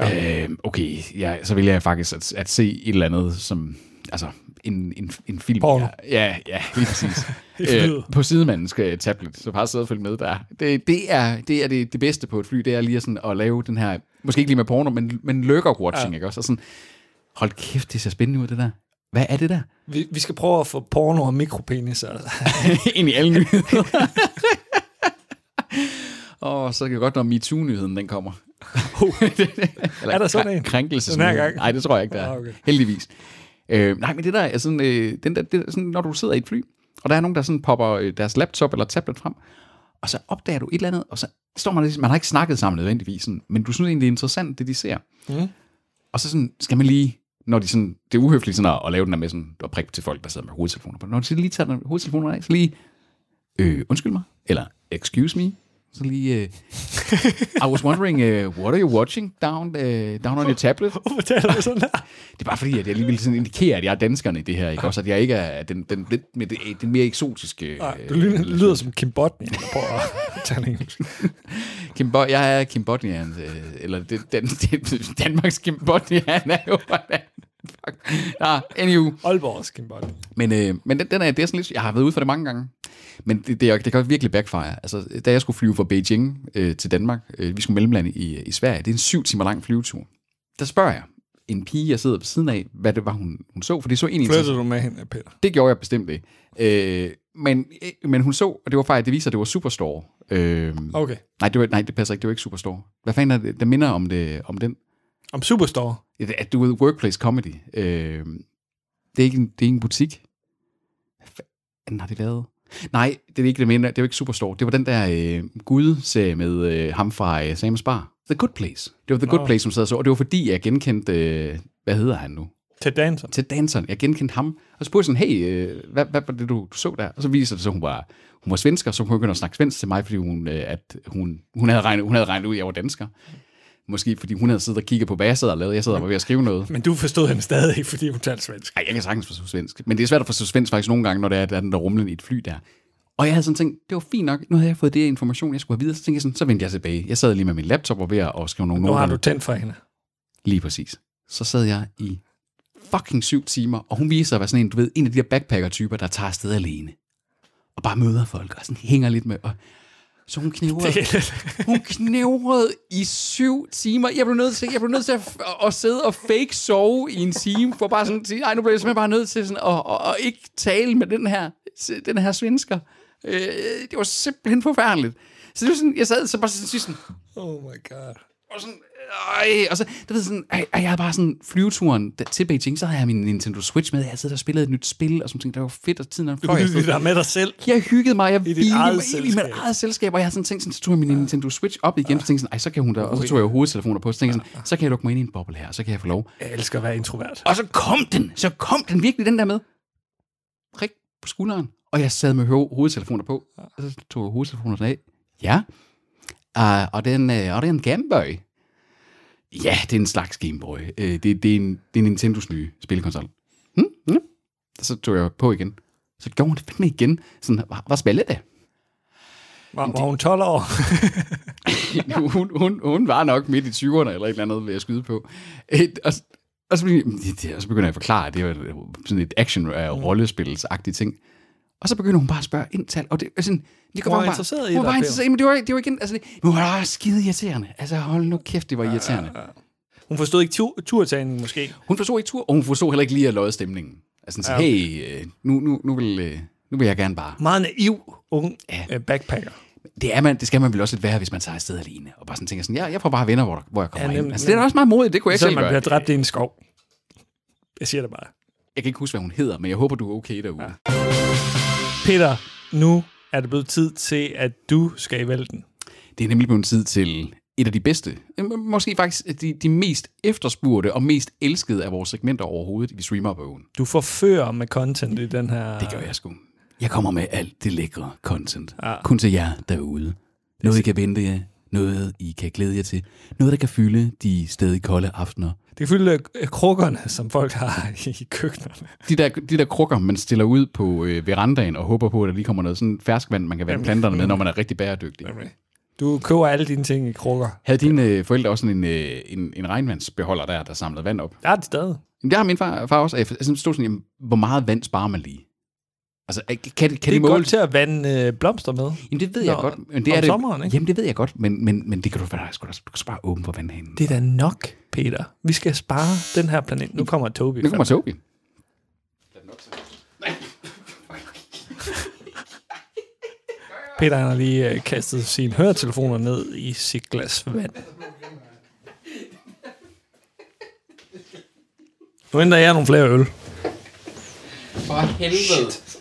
Speaker 2: Øh, okay, ja, så vil jeg faktisk at, at se et eller andet som, altså en, en, en film.
Speaker 1: Porno.
Speaker 2: Ja, ja, ja, lige præcis.
Speaker 1: flyet.
Speaker 2: øh, på sidemandens øh, tablet, så bare sidde og følge med der. Det, det er, det, er det, det bedste på et fly, det er lige sådan at lave den her, måske ikke lige med porno, men, men lurker-watching, ja. ikke også? Og sådan, hold kæft, det ser spændende ud, det der. Hvad er det der?
Speaker 1: vi, vi skal prøve at få porno og <laughs> mikropeniser.
Speaker 2: <laughs> Ind i alle nyheder. <laughs> Og så kan jeg godt, når MeToo-nyheden den kommer. <laughs> Eller
Speaker 1: Er der sådan
Speaker 2: krænk-
Speaker 1: en?
Speaker 2: Krænkelses-
Speaker 1: Den her gang?
Speaker 2: Nej, det tror jeg ikke, der er.
Speaker 1: Ah, okay.
Speaker 2: Heldigvis. Øh, nej, men det der er sådan, øh, den der, det er sådan, når du sidder i et fly, og der er nogen, der sådan popper øh, deres laptop eller tablet frem, og så opdager du et eller andet, og så står man, ligesom- man har ikke snakket sammen nødvendigvis, sådan, men du synes egentlig, det er interessant, det de ser.
Speaker 1: Mm.
Speaker 2: Og så sådan, skal man lige, når de sådan, det er uhøfligt sådan at, at lave den der med sådan, og prikke til folk, der sidder med hovedtelefoner på. Når de så lige tager den hovedtelefoner af, så lige, øh, undskyld mig, eller excuse me, så lige, øh, I was wondering, uh, what are you watching down, uh, down on your tablet?
Speaker 1: Hvorfor taler du sådan der?
Speaker 2: Det er bare fordi, at jeg lige ville sådan indikere, at jeg er danskerne i det her, ikke? Også at jeg ikke er den, den, lidt med det, den mere eksotiske...
Speaker 1: Nej,
Speaker 2: øh,
Speaker 1: du lyder, lyder som Kim Botnia, der prøver at tale engelsk.
Speaker 2: Kimbo- jeg er Kimbotnians, øh, eller det, den, <laughs> det, Danmarks Kimbotnian er jo... <laughs> hvordan- Fuck. Nah, anywho.
Speaker 1: Aalborgs Kim Botnia.
Speaker 2: Men, øh, men den, den er, det er sådan lidt, jeg har været ude for det mange gange. Men det, det, er- det kan virkelig backfire. Altså, da jeg skulle flyve fra Beijing øh, til Danmark, øh, vi skulle mellemlande i, i Sverige, det er en syv timer lang flyvetur. Der spørger jeg en pige, jeg sidder ved siden af, hvad det var, hun, hun så, for det så egentlig
Speaker 1: Flytter du med hende, Peter?
Speaker 2: det gjorde jeg bestemt ikke. Øh, men, øh, men hun så, og det var faktisk, det viser, at det var Superstore. Øh,
Speaker 1: Okay.
Speaker 2: nej, det var, nej, det passer ikke, det var ikke Superstore. Hvad fanden er det, der minder om, det, om den?
Speaker 1: Om Superstore.
Speaker 2: Et- At du ved, workplace comedy. Øh, det, er ikke en, det er ikke en butik. Hvad fanden har de lavet? Nej, det er ikke det, minder, det var ikke Superstore. Det var den der øh, Gud-serie med øh, ham fra øh, Samus Bar. The Good Place. Det var The Good
Speaker 1: Nå.
Speaker 2: Place, som sad og så, og det var fordi, jeg genkendte, øh, hvad hedder han nu?
Speaker 1: Til danser.
Speaker 2: til danseren. Jeg genkendte ham, og spurgte sådan, hey, øh, hvad, hvad var det, du, du så der? Og så viser det sig, at hun var, hun var svensker, så hun begyndte at snakke svensk til mig, fordi hun, øh, at hun, hun, havde, regnet, hun havde regnet ud, at jeg var dansker. Måske fordi hun havde siddet og kigget på, hvad jeg sad og lavede. Jeg sad og var ved at skrive noget.
Speaker 1: Men du forstod hende stadig ikke, fordi hun talte svensk.
Speaker 2: Ej, jeg kan sagtens forstå svensk. Men det er svært at forstå svensk faktisk nogle gange, når det er, at der er den der rumlen i et fly der. Og jeg havde sådan tænkt, det var fint nok, nu havde jeg fået det her information, jeg skulle have videre, så tænkte jeg sådan, så vendte jeg tilbage. Jeg sad lige med min laptop og ved at skrive nogle
Speaker 1: Nu
Speaker 2: noter
Speaker 1: har
Speaker 2: ned.
Speaker 1: du tændt for hende.
Speaker 2: Lige præcis. Så sad jeg i fucking syv timer, og hun viser sig at være sådan en, du ved, en af de der backpacker-typer, der tager afsted alene. Og bare møder folk, og sådan hænger lidt med. Og så hun knævrede, hun knævrede i syv timer. Jeg blev nødt til, jeg blev nødt til at, at, sidde og fake sove i en time, for bare sådan at sige, nej, nu bliver jeg simpelthen bare nødt til sådan, at, at, at ikke tale med den her, den her svensker. Øh, det var simpelthen forfærdeligt. Så det var sådan, jeg sad så bare sådan, sådan
Speaker 1: Oh my god.
Speaker 2: og sådan, øj, og så, du ved sådan, ej, ej, jeg er bare sådan, flyveturen der, til Beijing, så havde jeg min Nintendo Switch med, jeg sad der og spillede et nyt spil, og sådan ting, det var fedt, og tiden er
Speaker 1: Du hyggede
Speaker 2: fløj.
Speaker 1: dig med dig selv.
Speaker 2: Jeg hyggede mig, jeg hvilede
Speaker 1: eget
Speaker 2: mig ind i mit
Speaker 1: selskab.
Speaker 2: eget selskab, og jeg havde sådan tænkt, sådan, så tog jeg min Nintendo Switch op igen, så tænkte jeg sådan, ej, så kan hun der, og så tog jeg hovedtelefoner på, så
Speaker 1: Ah,
Speaker 2: tænkte jeg sådan, så kan jeg lukke mig ind i en boble her, og så kan jeg få lov.
Speaker 1: Jeg elsker at være introvert.
Speaker 2: Og så kom den, så kom den virkelig, den der med. Prik på skulderen. Og jeg sad med ho- hovedtelefoner på. Og så tog jeg hovedtelefonerne af. Ja. Uh, og, det er en, øh, og det er en Game Boy. Ja, det er en slags Game Boy. Uh, det, det, er en, det er Nintendos nye spillekonsol. Hmm? Hmm? Så tog jeg på igen. Så gjorde hun det fandme igen. Sådan, hvad, hvad spiller det?
Speaker 1: Var, var hun 12 år?
Speaker 2: <laughs> hun, hun, hun var nok midt i 20'erne eller et eller andet, vil jeg skyde på. Et, og, og, så, begyndte- det- det- og så begynder jeg at forklare, at det var sådan et
Speaker 1: Mm.
Speaker 2: action-rollespilsagtigt ting. Og så begynder hun bare at spørge ind til alt, og det, altså, det
Speaker 1: Hun var
Speaker 2: hun
Speaker 1: interesseret i
Speaker 2: bare, hun
Speaker 1: dig,
Speaker 2: var
Speaker 1: Per.
Speaker 2: interesseret, men det var, det var igen, altså, det, hun var da skide irriterende. Altså, hold nu kæft, det var irriterende.
Speaker 1: Hun forstod ikke tu- turtanen måske.
Speaker 2: Hun forstod ikke tur, og hun forstod heller ikke lige at løje stemningen. Altså, sådan, ja. hey, øh, nu, nu, nu, vil, øh, nu vil jeg gerne bare.
Speaker 1: Meget naiv ung ja. backpacker.
Speaker 2: det, er man, det skal man vel også lidt være, hvis man tager afsted alene, og bare sådan tænker sådan, ja, jeg får bare venner, hvor, hvor jeg kommer
Speaker 1: Ja,
Speaker 2: ja,
Speaker 1: nem-
Speaker 2: ind. Altså, det er da også meget modigt, det kunne jeg ikke
Speaker 1: Så
Speaker 2: selv
Speaker 1: man
Speaker 2: gøre.
Speaker 1: bliver dræbt i en skov. Jeg siger det bare.
Speaker 2: Jeg kan ikke huske, hvad hun hedder, men jeg håber, du er okay derude. Ja.
Speaker 1: Peter, nu er det blevet tid til, at du skal i vælten.
Speaker 2: Det er nemlig blevet tid til et af de bedste, øh, må- måske faktisk de, de mest efterspurgte og mest elskede af vores segmenter overhovedet, vi streamer på ugen.
Speaker 1: Du forfører med content i den her...
Speaker 2: Det gør jeg sgu. Jeg kommer med alt det lækre content. Ja. Kun til jer derude. Noget, I kan vente jer. Noget, I kan glæde jer til. Noget, der kan fylde de stadig kolde aftener.
Speaker 1: Det fylder øh, krukkerne, som folk har <laughs> i køkkenerne.
Speaker 2: de der, de der krukker, man stiller ud på øh, verandaen og håber på, at der lige kommer noget sådan ferskvand, man kan vande planterne med, når man er rigtig bæredygtig.
Speaker 1: Du køber alle dine ting i krukker.
Speaker 2: Havde dine øh, forældre også sådan en, øh, en, en regnvandsbeholder der, der samlede vand op?
Speaker 1: Der er det stadig.
Speaker 2: Jamen, det har min far, far også. og Jeg sådan stod sådan, jamen, hvor meget vand sparer man lige? Altså, øh, kan, kan det, kan
Speaker 1: Det
Speaker 2: det
Speaker 1: er
Speaker 2: måle?
Speaker 1: godt til at vande øh, blomster med.
Speaker 2: Jamen, det ved jeg
Speaker 1: Nå,
Speaker 2: godt. Men
Speaker 1: om
Speaker 2: det er det,
Speaker 1: sommeren, ikke?
Speaker 2: Jamen, det ved jeg godt, men, men, men det kan du, du, kan du kan spare åben for vandhanen.
Speaker 1: Det er da nok, Peter. Vi skal spare den her planet. Nu kommer Tobi.
Speaker 2: Nu kommer Tobi.
Speaker 1: Peter han har lige øh, kastet sine høretelefoner ned i sit glas vand. Nu henter jeg nogle flere øl.
Speaker 2: For helvede. Shit.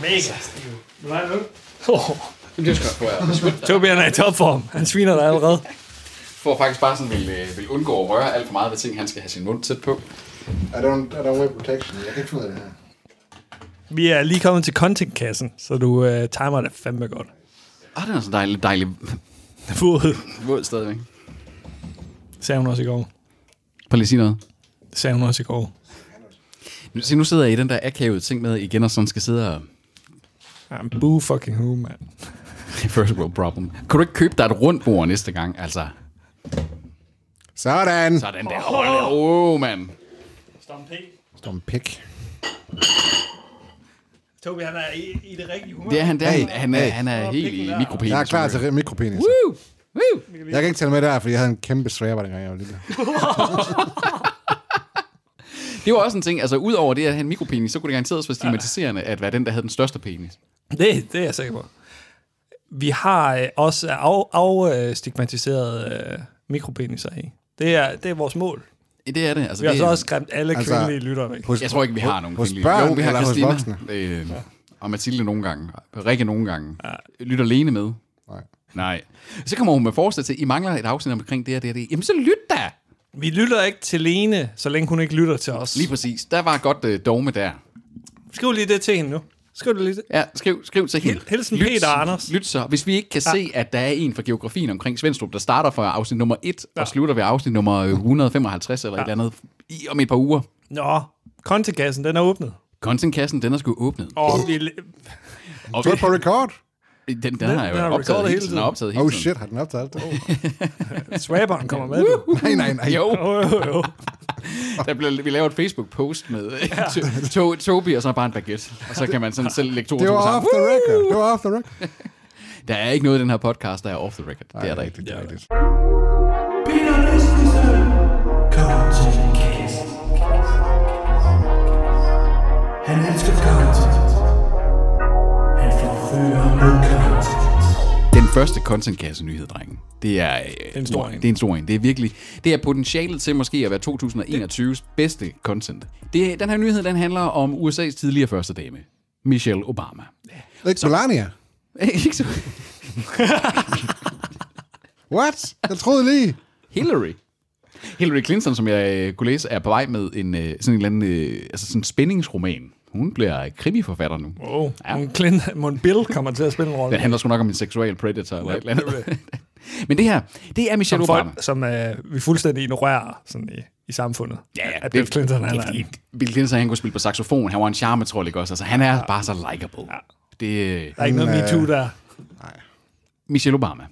Speaker 1: Mega stiv. Vil du have en øl?
Speaker 2: Jamen, det skal jeg få. Jeg
Speaker 1: Tobi han er i topform. Han sviner dig allerede.
Speaker 2: får faktisk bare sådan, vil, øh, vil undgå at røre alt for meget ved ting, han skal have sin mund tæt på.
Speaker 3: I don't, I don't wear protection. Jeg kan ikke finde ud af det her.
Speaker 1: Vi er lige kommet til contentkassen, så du øh, timer det fandme godt.
Speaker 2: Ah, den er så dejlig, dejlig
Speaker 1: Våd,
Speaker 2: våd stadigvæk.
Speaker 1: sagde hun også i går.
Speaker 2: Prøv lige at sige noget.
Speaker 1: Det sagde hun også i går.
Speaker 2: Nu- Se, nu sidder jeg i den der akavede ting med igen, og sådan skal sidde og... <laughs>
Speaker 1: Jamen, boo fucking who, mand.
Speaker 2: First world problem. Kan du ikke købe dig et rundt bord næste gang, altså?
Speaker 3: Sådan.
Speaker 2: Sådan der. Åh, oh, oh, mand.
Speaker 1: Stom P.
Speaker 3: Storm pik.
Speaker 1: Tobi, han er i, i det rigtige humør.
Speaker 2: Det er han der.
Speaker 3: Hey,
Speaker 2: han, er,
Speaker 3: hey.
Speaker 2: han er helt i mikropenis.
Speaker 3: Jeg er klar til mikropenis.
Speaker 2: Woo! Woo!
Speaker 3: Jeg kan ikke tælle med der, fordi jeg havde en kæmpe svæber, dengang jeg var
Speaker 2: <laughs>
Speaker 3: lille.
Speaker 2: Det var også en ting, altså udover det at have en mikropenis, så kunne det garanteret være stigmatiserende at være den, der havde den største penis.
Speaker 1: Det, det er jeg sikker på. Vi har øh, også af, afstigmatiserede øh, mikropeniser i. Det er, det er vores mål.
Speaker 2: Det er det. Altså,
Speaker 1: Vi har
Speaker 2: det,
Speaker 1: så også skræmt alle altså,
Speaker 3: altså,
Speaker 1: kvindelige lyttere væk.
Speaker 3: Hos,
Speaker 2: Jeg tror ikke, vi har nogen
Speaker 3: hos
Speaker 2: kvindelige.
Speaker 3: børn
Speaker 2: jo, vi har
Speaker 3: eller hos
Speaker 2: Christina,
Speaker 3: voksne?
Speaker 2: Øh, og Mathilde nogle gange. Rikke nogle gange. Lytter Lene med?
Speaker 3: Nej.
Speaker 2: Nej. Så kommer hun med forslag til, I mangler et afsnit omkring det og det og det. Jamen så lyt da!
Speaker 1: Vi lytter ikke til Lene, så længe hun ikke lytter til os.
Speaker 2: Lige præcis. Der var et godt øh, dogme der.
Speaker 1: Skriv lige det til hende nu. Skriv det lige det.
Speaker 2: Ja, skriv, skriv til hende.
Speaker 1: Hil- hilsen Peter og Anders.
Speaker 2: Lyt så. Hvis vi ikke kan se, at der er en fra geografien omkring Svendstrup, der starter fra afsnit nummer 1 og slutter ved afsnit nummer øh, 155 eller et eller andet i, om et par uger.
Speaker 1: Nå, kontekassen, den er åbnet.
Speaker 2: Contentkassen, den er sgu åbnet.
Speaker 1: Og vi,
Speaker 2: Og
Speaker 3: Tryk på record.
Speaker 2: den, den, den har jeg
Speaker 1: den har
Speaker 2: jo
Speaker 1: recordet
Speaker 2: optaget hele
Speaker 1: hele
Speaker 2: tiden.
Speaker 1: tiden.
Speaker 2: Den er optaget hele
Speaker 3: Oh
Speaker 2: tiden.
Speaker 3: shit, har den optaget det? Oh.
Speaker 1: swabberen kommer med. du.
Speaker 3: <laughs> Nej, nej, nej.
Speaker 2: Jo,
Speaker 1: Jo, jo, jo.
Speaker 2: der bliver, vi laver et Facebook-post med ja. to, Tobi, og så bare en baguette. Og så kan man sådan selv lægge to og
Speaker 3: Det
Speaker 2: to
Speaker 3: var off
Speaker 2: sammen.
Speaker 3: the record. Det var off the
Speaker 2: <laughs>
Speaker 3: record.
Speaker 2: Der er ikke noget i den her podcast, der er off the record. det er der ikke.
Speaker 3: rigtigt. Det er rigtigt.
Speaker 4: Peter Christensen. Kom til kassen. Han elsker content. Han forfører med content.
Speaker 2: Den første contentkasse-nyhed, drenge. Det er, øh,
Speaker 1: en stor en.
Speaker 2: Det er en stor en. Det er virkelig... Det er potentialet til måske at være 2021's bedste content. Det, den her nyhed, den handler om USA's tidligere første dame, Michelle Obama. <laughs>
Speaker 3: Ikke Melania.
Speaker 2: Ikke så...
Speaker 3: What? Jeg troede lige.
Speaker 2: Hillary. Hillary Clinton, som jeg øh, kunne læse, er på vej med en øh, sådan en eller anden øh, altså sådan en spændingsroman. Hun bliver krimiforfatter nu.
Speaker 1: Wow. Ja. Mon, Clint, Mon Bill kommer til at spille en rolle.
Speaker 2: Den handler sgu nok om en seksual predator eller et eller andet. <laughs> Men det her, det er Michelle
Speaker 1: som
Speaker 2: Obama.
Speaker 1: folk, som øh, vi fuldstændig ignorerer sådan i, i samfundet. at Bill Clinton han
Speaker 2: det,
Speaker 1: er en.
Speaker 2: fordi Bill Clinton, han kunne spille på saxofon. Han var en charmetrol, ikke også? Altså, han er bare så likable. Det,
Speaker 1: Der er ikke noget
Speaker 3: Han, øh,
Speaker 1: MeToo der.
Speaker 2: Michelle Obama.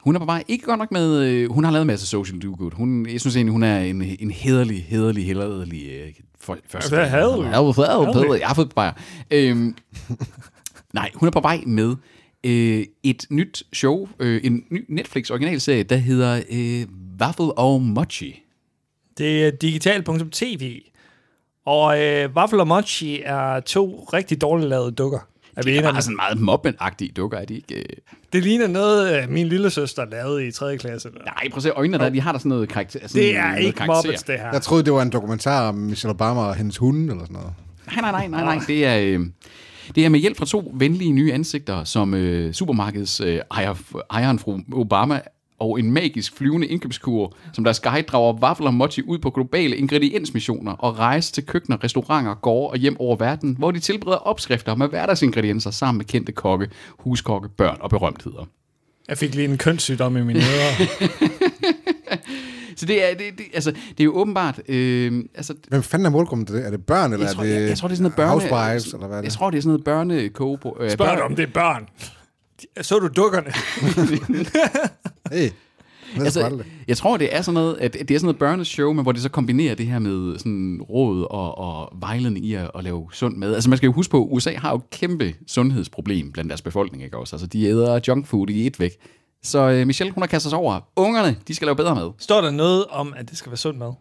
Speaker 2: Hun er på vej, ikke godt nok med, øh, hun har lavet en masse social do good. Hun, jeg synes egentlig, hun er en, en hederlig, hederlig, hederlig... Øh, for, for,
Speaker 1: Hvad er hederlig?
Speaker 2: Hederlig, hederlig. Jeg har fået bajer.
Speaker 1: <laughs>
Speaker 2: Øhm, nej, hun er på vej med øh, et nyt show, øh, en ny Netflix-originalserie, der hedder øh, Waffle og Mochi.
Speaker 1: Det er digital.tv. Og øh, Waffle og Mochi er to rigtig dårligt lavede dukker. Er vi
Speaker 2: Det
Speaker 1: enige
Speaker 2: er
Speaker 1: om
Speaker 2: bare sådan meget mobbenagtige dukker, er de ikke? Øh,
Speaker 1: Det ligner noget, øh, min lille søster lavede i 3. klasse. Eller?
Speaker 2: nej, prøv at se øjnene der, de har der sådan noget karakter. Sådan
Speaker 1: Det er
Speaker 2: Mm, noget
Speaker 1: ikke
Speaker 2: karakter.
Speaker 1: mobbets, det her.
Speaker 3: Jeg troede, det var en dokumentar om Michelle Obama og hendes hunde eller sådan noget.
Speaker 2: Nej, nej, nej, nej, nej. Det er, øh, det er med hjælp fra to venlige nye ansigter, som øh, supermarkedets øh, ejer, ejeren fru Obama og en magisk flyvende indkøbskur, som deres guide drager vafler og mochi ud på globale ingrediensmissioner og rejser til køkkener, restauranter, gårde og hjem over verden, hvor de tilbereder opskrifter med hverdagsingredienser sammen med kendte kokke, huskokke, børn og berømtheder.
Speaker 1: Jeg fik lige en kønssygdom i mine ører.
Speaker 2: Så det er, det, det, altså, det er jo åbenbart... Øh, altså,
Speaker 3: Hvem fanden er målgruppen til det? Er det børn, eller
Speaker 2: jeg, tror,
Speaker 3: er det
Speaker 2: jeg, jeg tror, det er sådan noget børne...
Speaker 3: housewives, eller hvad er det?
Speaker 2: Jeg tror, det er sådan noget børne... Kobo, øh,
Speaker 1: Spørg dig, om det er børn. Så du dukkerne.
Speaker 3: Hey, hvad altså,
Speaker 2: Altså,
Speaker 3: det?
Speaker 2: jeg tror, det er sådan noget, at det er sådan noget børneshow, men hvor de så kombinerer det her med sådan råd og, og vejledning i at, at, lave sund mad. Altså, man skal jo huske på, at USA har jo et kæmpe sundhedsproblem blandt deres befolkning, ikke også? Altså, de æder junk food i et væk. Så øh, Michelle, hun har kastet sig over. Ungerne, de skal lave bedre mad.
Speaker 1: Står der noget om, at det skal være sund mad?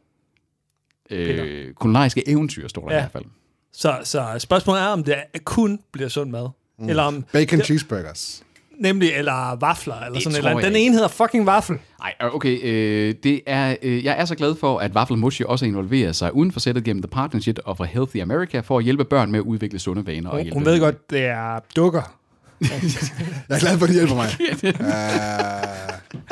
Speaker 2: Øh, kulinariske eventyr, står der ja.
Speaker 1: Ja.
Speaker 2: i hvert fald.
Speaker 1: Så, så spørgsmålet er, om det kun bliver sund mad. Mm. Eller om,
Speaker 3: Bacon cheeseburgers.
Speaker 1: nemlig, eller vafler, eller sådan
Speaker 2: tror
Speaker 1: eller
Speaker 2: jeg
Speaker 1: Den
Speaker 2: ikke.
Speaker 1: ene hedder fucking vaffel.
Speaker 2: Ej, øh, okay, øh, det er, øh, jeg er så glad for, at Waffle Mochi også involverer sig uden for sættet gennem The Partnership og for Healthy America for at hjælpe børn med at udvikle sunde vaner. og
Speaker 1: Hun,
Speaker 2: hjælpe
Speaker 1: hun ved godt, det er dukker.
Speaker 3: Jeg er glad for, at de hjælper
Speaker 2: <laughs>
Speaker 3: mig. uh,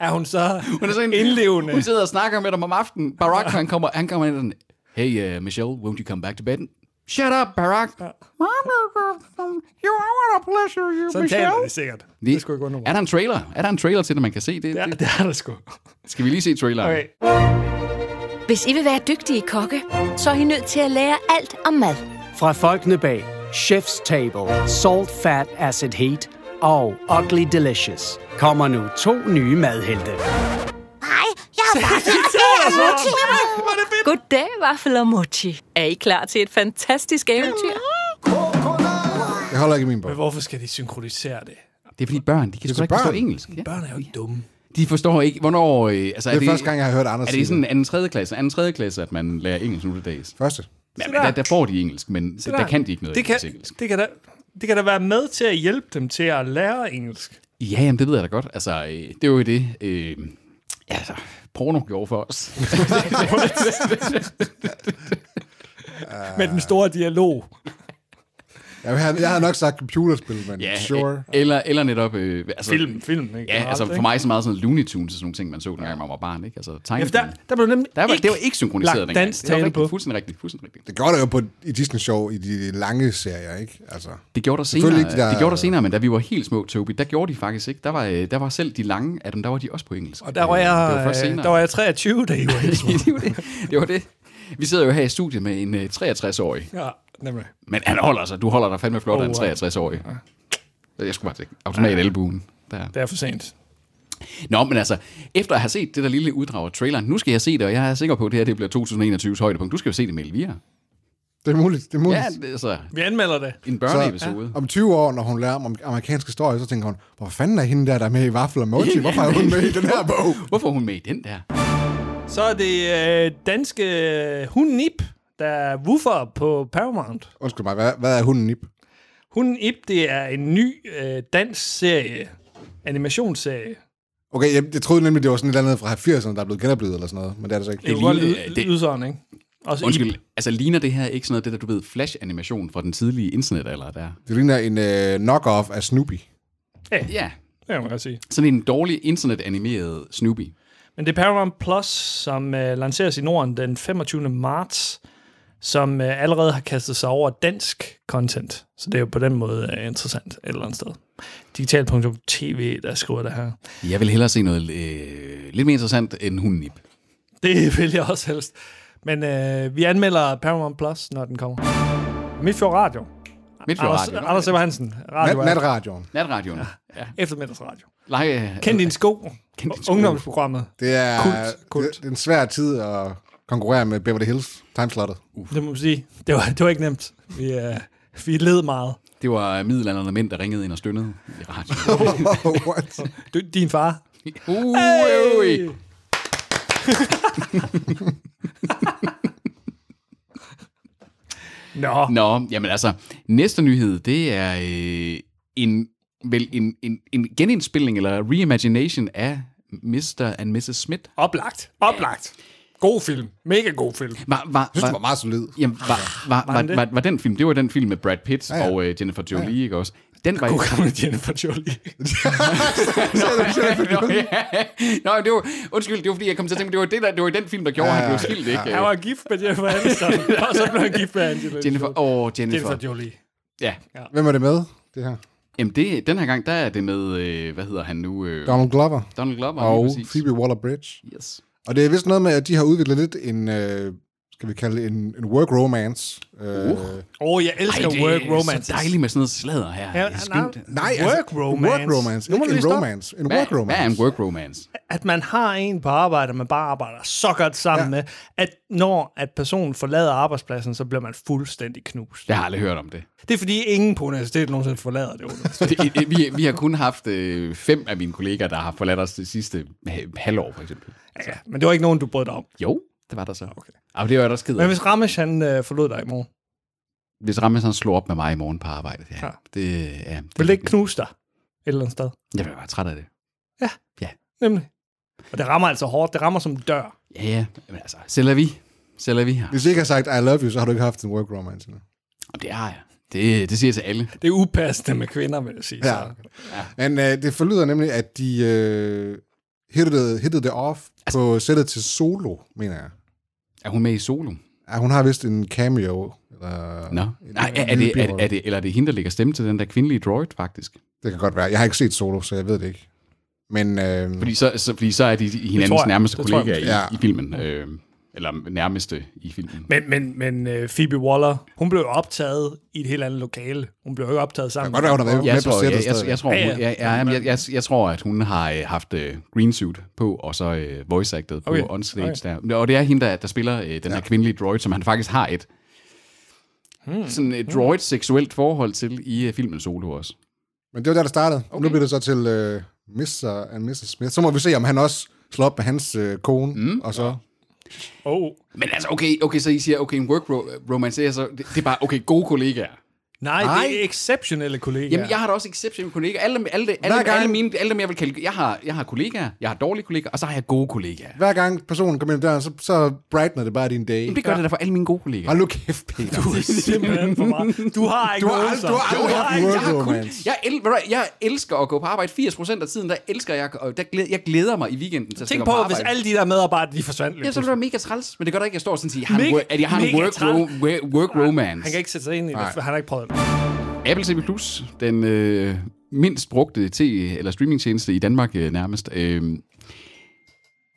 Speaker 1: Er hun så
Speaker 2: Hun er sådan
Speaker 1: indlevende?
Speaker 2: Hun sidder og snakker med dem om aftenen. Barack, han kommer, han kommer ind og sådan, Hey, uh, Michelle, won't you come back to bed? Shut up, Barack. uh, um, You are a pleasure, you
Speaker 1: Sådan taler de sikkert. Det, det skulle ikke undre
Speaker 2: er
Speaker 1: mig.
Speaker 2: der en trailer? Er der en trailer til det, man kan se? Det,
Speaker 1: Ja,
Speaker 2: det.
Speaker 1: det er der sgu.
Speaker 2: Skal vi lige se traileren?
Speaker 1: Okay.
Speaker 5: Hvis I vil være dygtige kokke, så er I nødt til at lære alt om mad.
Speaker 6: Fra folkene bag Chef's Table, Salt, Fat, Acid, Heat og Ugly Delicious kommer nu to nye madhelte.
Speaker 5: Nej, jeg har bare Goddag, vaffel og mochi. Er I klar til et fantastisk eventyr?
Speaker 3: jeg holder ikke i min bog.
Speaker 1: Men hvorfor skal de synkronisere det?
Speaker 2: Det er fordi børn, de kan sgu
Speaker 3: for
Speaker 2: ikke forstå
Speaker 3: børn.
Speaker 2: engelsk. Ja.
Speaker 1: Børn er jo ikke dumme.
Speaker 2: De forstår ikke, hvornår... Øh, altså,
Speaker 3: Det er første gang, jeg har hørt andre
Speaker 2: Er
Speaker 3: sige
Speaker 2: det sådan anden tredje klasse? Anden tredje klasse, at man lærer engelsk nu til dags?
Speaker 3: Første.
Speaker 2: Ja, men
Speaker 1: der.
Speaker 2: der, der, får de engelsk, men der, der, kan de ikke noget
Speaker 1: det kan,
Speaker 2: engelsk.
Speaker 1: det kan da, det kan da være med til at hjælpe dem til at lære engelsk.
Speaker 2: Ja, jamen, det ved jeg da godt. Altså, øh, det er jo det. Øh, ja, altså, porno gjorde for os.
Speaker 1: Med den store dialog.
Speaker 3: Jeg, havde, jeg havde nok sagt computerspil, men
Speaker 2: ja,
Speaker 3: sure.
Speaker 2: øh, Eller, eller netop... Øh, altså,
Speaker 1: Film, film. Ikke?
Speaker 2: Ja, altså for mig så meget sådan Looney Tunes og sådan nogle ting, man så, dengang man var barn. Ikke? Altså,
Speaker 1: Ja,
Speaker 2: tegnefilm.
Speaker 1: for der, der blev nemlig
Speaker 2: der var,
Speaker 1: ikke
Speaker 2: det var ikke synkroniseret
Speaker 1: lagt
Speaker 2: dengang.
Speaker 1: dansk
Speaker 2: Det var
Speaker 1: tale
Speaker 2: rigtigt,
Speaker 1: på.
Speaker 2: Fuldstændig rigtigt, fuldstændig rigtigt.
Speaker 3: Det gjorde der jo på, i Disney Show i de lange serier, ikke? Altså,
Speaker 2: Det gjorde der senere,
Speaker 3: Selvfølgelig ikke de
Speaker 2: der...
Speaker 3: der-
Speaker 2: det gjorde der senere, men da vi var helt små, Toby, der gjorde de faktisk ikke. Der var, øh, der var selv de lange af dem, der var de også på engelsk.
Speaker 1: Og der var,
Speaker 2: Øh,
Speaker 1: jeg,
Speaker 2: det var først senere. <laughs>
Speaker 1: der var jeg 23, da I var helt små.
Speaker 2: det, var det. det var det. Vi sidder jo her i studiet med en øh, 63-årig,
Speaker 1: <laughs> Ja, nemlig.
Speaker 2: Men han holder sig. Du holder dig fandme flot af en
Speaker 1: Åh, Oh, ja.
Speaker 2: 63-årig. Jeg skulle bare tænke. Automat albuen. Der.
Speaker 1: Det er for sent.
Speaker 2: Nå, men altså, efter at have set det der lille uddrag af traileren, nu skal jeg se det, og jeg er sikker på, at det her det bliver 2021's højdepunkt. Du skal jo se det med Elvira.
Speaker 3: det er muligt, det er
Speaker 2: Ja,
Speaker 3: muligt.
Speaker 2: det er altså,
Speaker 1: Vi anmelder det.
Speaker 2: en
Speaker 3: Så
Speaker 2: børneepisode.
Speaker 3: om 20 år, når hun lærer om amerikansk historie, så tænker hun, hvor fanden er hende der, der er med i Waffle og Mochi? Hvorfor er hun med i den her
Speaker 2: <laughs>
Speaker 3: bog?
Speaker 2: Hvorfor er hun med i den der?
Speaker 1: Så er det øh, danske øh, hun Nip, der er woofer på Paramount.
Speaker 3: Undskyld mig, hvad, hvad er hunden nip?
Speaker 1: Hun Ip, det er en ny øh, dansk serie, animationsserie.
Speaker 3: Okay, jeg, jeg troede nemlig, det var sådan et eller andet fra 80'erne, der er blevet genoplevet eller sådan noget, men det er det så ikke.
Speaker 1: Det er jo
Speaker 2: ligner-
Speaker 1: godt lyde,
Speaker 2: det-
Speaker 1: lyde sådan, ikke? Også
Speaker 2: Undskyld, altså ligner det her ikke sådan noget, det der, du ved, flash-animation fra den tidlige internet eller der?
Speaker 3: Det ligner en øh, knock-off af Snoopy.
Speaker 2: Ja,
Speaker 1: Det kan man godt sige.
Speaker 2: sådan en dårlig internet-animeret Snoopy.
Speaker 1: Men det er Paramount Plus, som øh, lanceres i Norden den 25. marts. som øh, allerede har kastet sig over dansk content. Så det er jo på den måde øh, interessant et eller andet sted. Digital.tv, der skriver det her.
Speaker 2: Jeg vil hellere se noget øh, lidt mere interessant end hundnip.
Speaker 1: Det <laughs> vil jeg også helst. Men øh, vi anmelder Paramount Plus, når den kommer. Midtfjord Radio.
Speaker 2: Midt for
Speaker 1: Anders,
Speaker 2: radio.
Speaker 1: Anders Eber Hansen. Radio
Speaker 3: Nat, natradioen.
Speaker 2: Natradioen. Ja.
Speaker 1: Eftermiddagsradio.
Speaker 2: Lege,
Speaker 1: Kend din sko.
Speaker 2: Kend din sko.
Speaker 1: Ungdomsprogrammet.
Speaker 3: Det er,
Speaker 1: Kult, kult.
Speaker 3: Det, det er en svær tid at konkurrere med Beverly Hills
Speaker 2: <laughs>
Speaker 3: timeslottet.
Speaker 1: Det må man sige. Det var, det var ikke nemt. Vi, øh, vi led meget.
Speaker 2: Det var middelalderne mænd, der ringede ind og stønnede i radio.
Speaker 3: What?
Speaker 1: Du, din far.
Speaker 2: uh, hey!
Speaker 1: Hey! <laughs> Nå,
Speaker 2: Nå, jamen altså, næste nyhed, det er øh, en, vel, en, en, en genindspilning eller reimagination af Mr. and Mrs. Smith.
Speaker 1: oplagt. Oplagt. God film. Mega god film.
Speaker 2: Var, var,
Speaker 3: Jeg synes, det var meget solid.
Speaker 2: Jamen, var, var, var,
Speaker 1: den
Speaker 2: var,
Speaker 1: det?
Speaker 2: var, var den film, det var den film med Brad Pitt ja,
Speaker 3: ja.
Speaker 2: ja. og øh, Jennifer Jolie, ja, ja. ikke også? Den var
Speaker 1: God gammel Jennifer Jolie.
Speaker 2: Nå, ja. Nå, det var, undskyld, det var fordi, jeg kom til at tænke, det var, det, der, det var den film, der gjorde, ja, ja. han blev skilt, ikke?
Speaker 1: Han var gift med Jennifer
Speaker 2: <laughs>
Speaker 1: Aniston, og så blev han gift med Angelina
Speaker 2: Jennifer,
Speaker 1: Jolie.
Speaker 2: åh, Jennifer.
Speaker 1: Jennifer
Speaker 2: Jennifer.
Speaker 1: Jolie.
Speaker 2: Ja.
Speaker 3: Hvem er det med, det her?
Speaker 2: Jamen, det, den her gang, der er det med, øh, hvad hedder han nu? Øh,
Speaker 3: Donald Glover
Speaker 2: Donald Glover. lige
Speaker 3: og
Speaker 2: præcis.
Speaker 3: Phoebe Waller-Bridge.
Speaker 2: Yes.
Speaker 3: Og det er vist noget med, at de har udviklet lidt en, øh, skal vi kalde det, en, en work romance. Øh,
Speaker 1: Åh, oh, jeg elsker
Speaker 2: det
Speaker 1: work
Speaker 2: er
Speaker 1: romance.
Speaker 2: så dejligt med sådan noget sladder her. Ja, det er skønt. altså,
Speaker 3: Nej,
Speaker 1: work romance.
Speaker 3: Work romance.
Speaker 1: Nu må
Speaker 3: Ikke
Speaker 1: du
Speaker 3: en
Speaker 1: lige stoppe.
Speaker 3: romance. En
Speaker 2: Hvad,
Speaker 3: work
Speaker 2: hvad
Speaker 3: romance.
Speaker 2: er en work romance?
Speaker 1: At man har en på arbejde, man bare arbejder så godt sammen ja. med, at når at personen forlader arbejdspladsen, så bliver man fuldstændig knust.
Speaker 2: Jeg har aldrig hørt om det.
Speaker 1: Det er fordi ingen på universitetet nogensinde forlader det. undervisning.
Speaker 2: <laughs> det vi, vi har kun haft øh, fem af mine kollegaer, der har forladt os det sidste ha- halvår, for eksempel.
Speaker 1: ja, men det var ikke nogen, du brød dig om.
Speaker 2: Jo, det var der så. Okay. Og det var der skidt.
Speaker 1: Ah, Men hvis Ramesh, han øh, forlod dig i morgen,
Speaker 2: Hvis Rammes han slår op med mig i morgen på arbejde, ja.
Speaker 1: Ja.
Speaker 2: Det, ja, det,
Speaker 1: ville det ikke knuse dig et eller andet sted?
Speaker 2: Jeg bliver bare træt af det.
Speaker 1: Nemlig. Og det rammer altså hårdt. Det rammer som en dør.
Speaker 2: Ja, ja. Men altså, sælger vi. Sælger vi her.
Speaker 3: Hvis I ikke har sagt, I love you, så har du ikke haft en work romance endnu.
Speaker 2: Jamen, det har jeg. Det, det siger jeg til alle.
Speaker 1: Det er upassende med kvinder, vil jeg sige.
Speaker 3: Ja.
Speaker 1: Så.
Speaker 3: Men øh, det forlyder nemlig, at de øh, hittede, hittede det off altså, på sættet til Solo, mener jeg.
Speaker 2: Er hun med i solo?
Speaker 3: Ja, hun har vist en cameo. Eller,
Speaker 2: Nå.
Speaker 3: en-
Speaker 2: Nej,
Speaker 3: en
Speaker 2: er, er, det, er,
Speaker 3: birolle.
Speaker 2: er det, eller er det hende, der lægger stemme til den der kvindelige droid, faktisk?
Speaker 3: Det kan godt være. Jeg har ikke set Solo, så jeg ved det ikke. Men øh,
Speaker 2: Fordi så, så, fordi så er de hinandens
Speaker 1: tror jeg.
Speaker 2: nærmeste
Speaker 1: Det tror jeg
Speaker 2: kollegaer i,
Speaker 3: måske. Ja.
Speaker 2: i filmen. Øh, eller nærmeste i filmen.
Speaker 1: Men, men, men øh, Phoebe Waller, hun blev jo optaget i et helt andet lokale. Hun blev jo ikke optaget sammen.
Speaker 3: godt være, hun har været-
Speaker 2: Jeg
Speaker 3: med på
Speaker 2: tror, jeg,
Speaker 3: sættet
Speaker 2: jeg, jeg,
Speaker 3: stadig.
Speaker 2: jeg, tror,
Speaker 1: Ja, ja.
Speaker 2: hun- jeg, jeg, jeg, jeg, jeg tror, at hun har øh, haft øh, green suit på, og så øh, voice acted på
Speaker 1: Okay.
Speaker 2: on stage
Speaker 1: Okay.
Speaker 2: der. Og det er hende, der, der spiller øh, den her kvindelige droid, som han faktisk har et hmm. sådan et droid seksuelt forhold til i øh, filmen Solo også.
Speaker 3: men det var der, der startede. Okay. Nu bliver det så til øh, Mr. and Mrs. Smith. Så må vi se, om han også slår op med hans øh, kone. Mm. Og så...
Speaker 1: Oh.
Speaker 2: Men altså, okay, okay så I siger, okay, en work ro- romance, det er så, det, det er bare, okay, gode kollegaer.
Speaker 1: Nej,
Speaker 2: Nej.
Speaker 1: det er exceptionelle kollegaer.
Speaker 2: Jamen, jeg har da også exceptionelle kollegaer. Alle, alle, alle,
Speaker 3: gang-
Speaker 2: alle, mine, alle dem, jeg vil kalde... Jeg har, jeg har kollegaer, jeg har dårlige kollegaer, og så har jeg gode kollegaer.
Speaker 3: Hver gang personen kommer ind ad døren, så, så brightner det bare din dag.
Speaker 2: Jamen, det gør det da for alle mine gode kollegaer.
Speaker 3: Hold nu kæft, Peter.
Speaker 1: Du er simpelthen for meget. Du har ikke
Speaker 3: Du har
Speaker 1: noget
Speaker 3: aldrig-
Speaker 1: så.
Speaker 3: du har aldrig haft
Speaker 1: ikke-
Speaker 3: noget.
Speaker 2: Jeg, har kun,
Speaker 3: romance.
Speaker 2: jeg, el, ved du hvad, jeg elsker at gå på arbejde 80% af tiden, der elsker jeg, og der glæder, jeg glæder mig i weekenden til
Speaker 1: Tænk
Speaker 2: at stille
Speaker 1: på,
Speaker 2: op
Speaker 1: hvis
Speaker 2: arbejde.
Speaker 1: alle de der medarbejdere, de forsvandt lidt.
Speaker 2: Ja, så er det da mega træls, men det gør da ikke, at jeg står sådan og siger, at jeg har en
Speaker 1: Mega-
Speaker 2: work- at jeg har en
Speaker 1: mega
Speaker 2: work, ro, wo- work romance.
Speaker 1: Han kan ikke sætte sig ind i det, for han har ikke prøvet det.
Speaker 2: Apple TV Plus, den øh, mindst brugte t- eller streamingtjeneste i Danmark øh, nærmest, øh,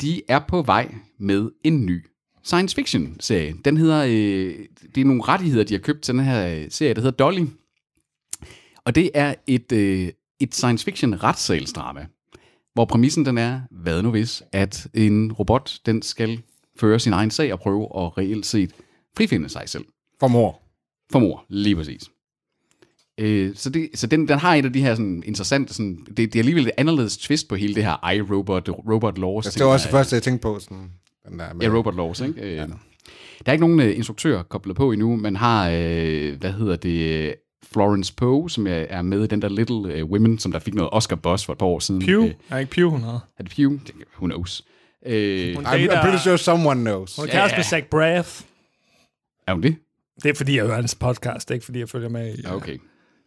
Speaker 2: de er på vej med en ny science fiction serie. Den hedder, øh, det er nogle rettigheder, de har købt til den her øh, serie, der hedder Dolly. Og det er et, øh, et science fiction retssalsdrama, hvor præmissen den er, hvad nu hvis, at en robot, den skal føre sin egen sag og prøve at reelt set frifinde sig selv.
Speaker 3: For mor.
Speaker 2: For mor, lige præcis. Øh, så det, så den, den har et af de her sådan, interessante, sådan, det, det er alligevel et anderledes twist på hele det her iRobot, Robot Laws.
Speaker 3: Altså, Det var også det
Speaker 2: tema.
Speaker 3: første, jeg tænkte på. Sådan, den der med,
Speaker 2: Ja, Robot Laws, ikke? Øh, Der er ikke nogen øh, instruktør koblet på endnu, man har, øh, hvad hedder det, Florence Poe, som er er med i den der Little øh, Women, som der fik noget Oscar Buzz for et par år siden.
Speaker 1: Pew.
Speaker 2: Øh,
Speaker 1: Er ikke Pew, hun har.
Speaker 2: er det Pew? Det- Who knows? Øh,
Speaker 1: Hun
Speaker 3: I'm, I'm pretty sure someone knows.
Speaker 1: Hun er kæreste med Zach Braff.
Speaker 2: er hun det?
Speaker 1: Det er fordi, jeg hører hans podcast, ikke fordi jeg følger med i
Speaker 2: Ja, Okay.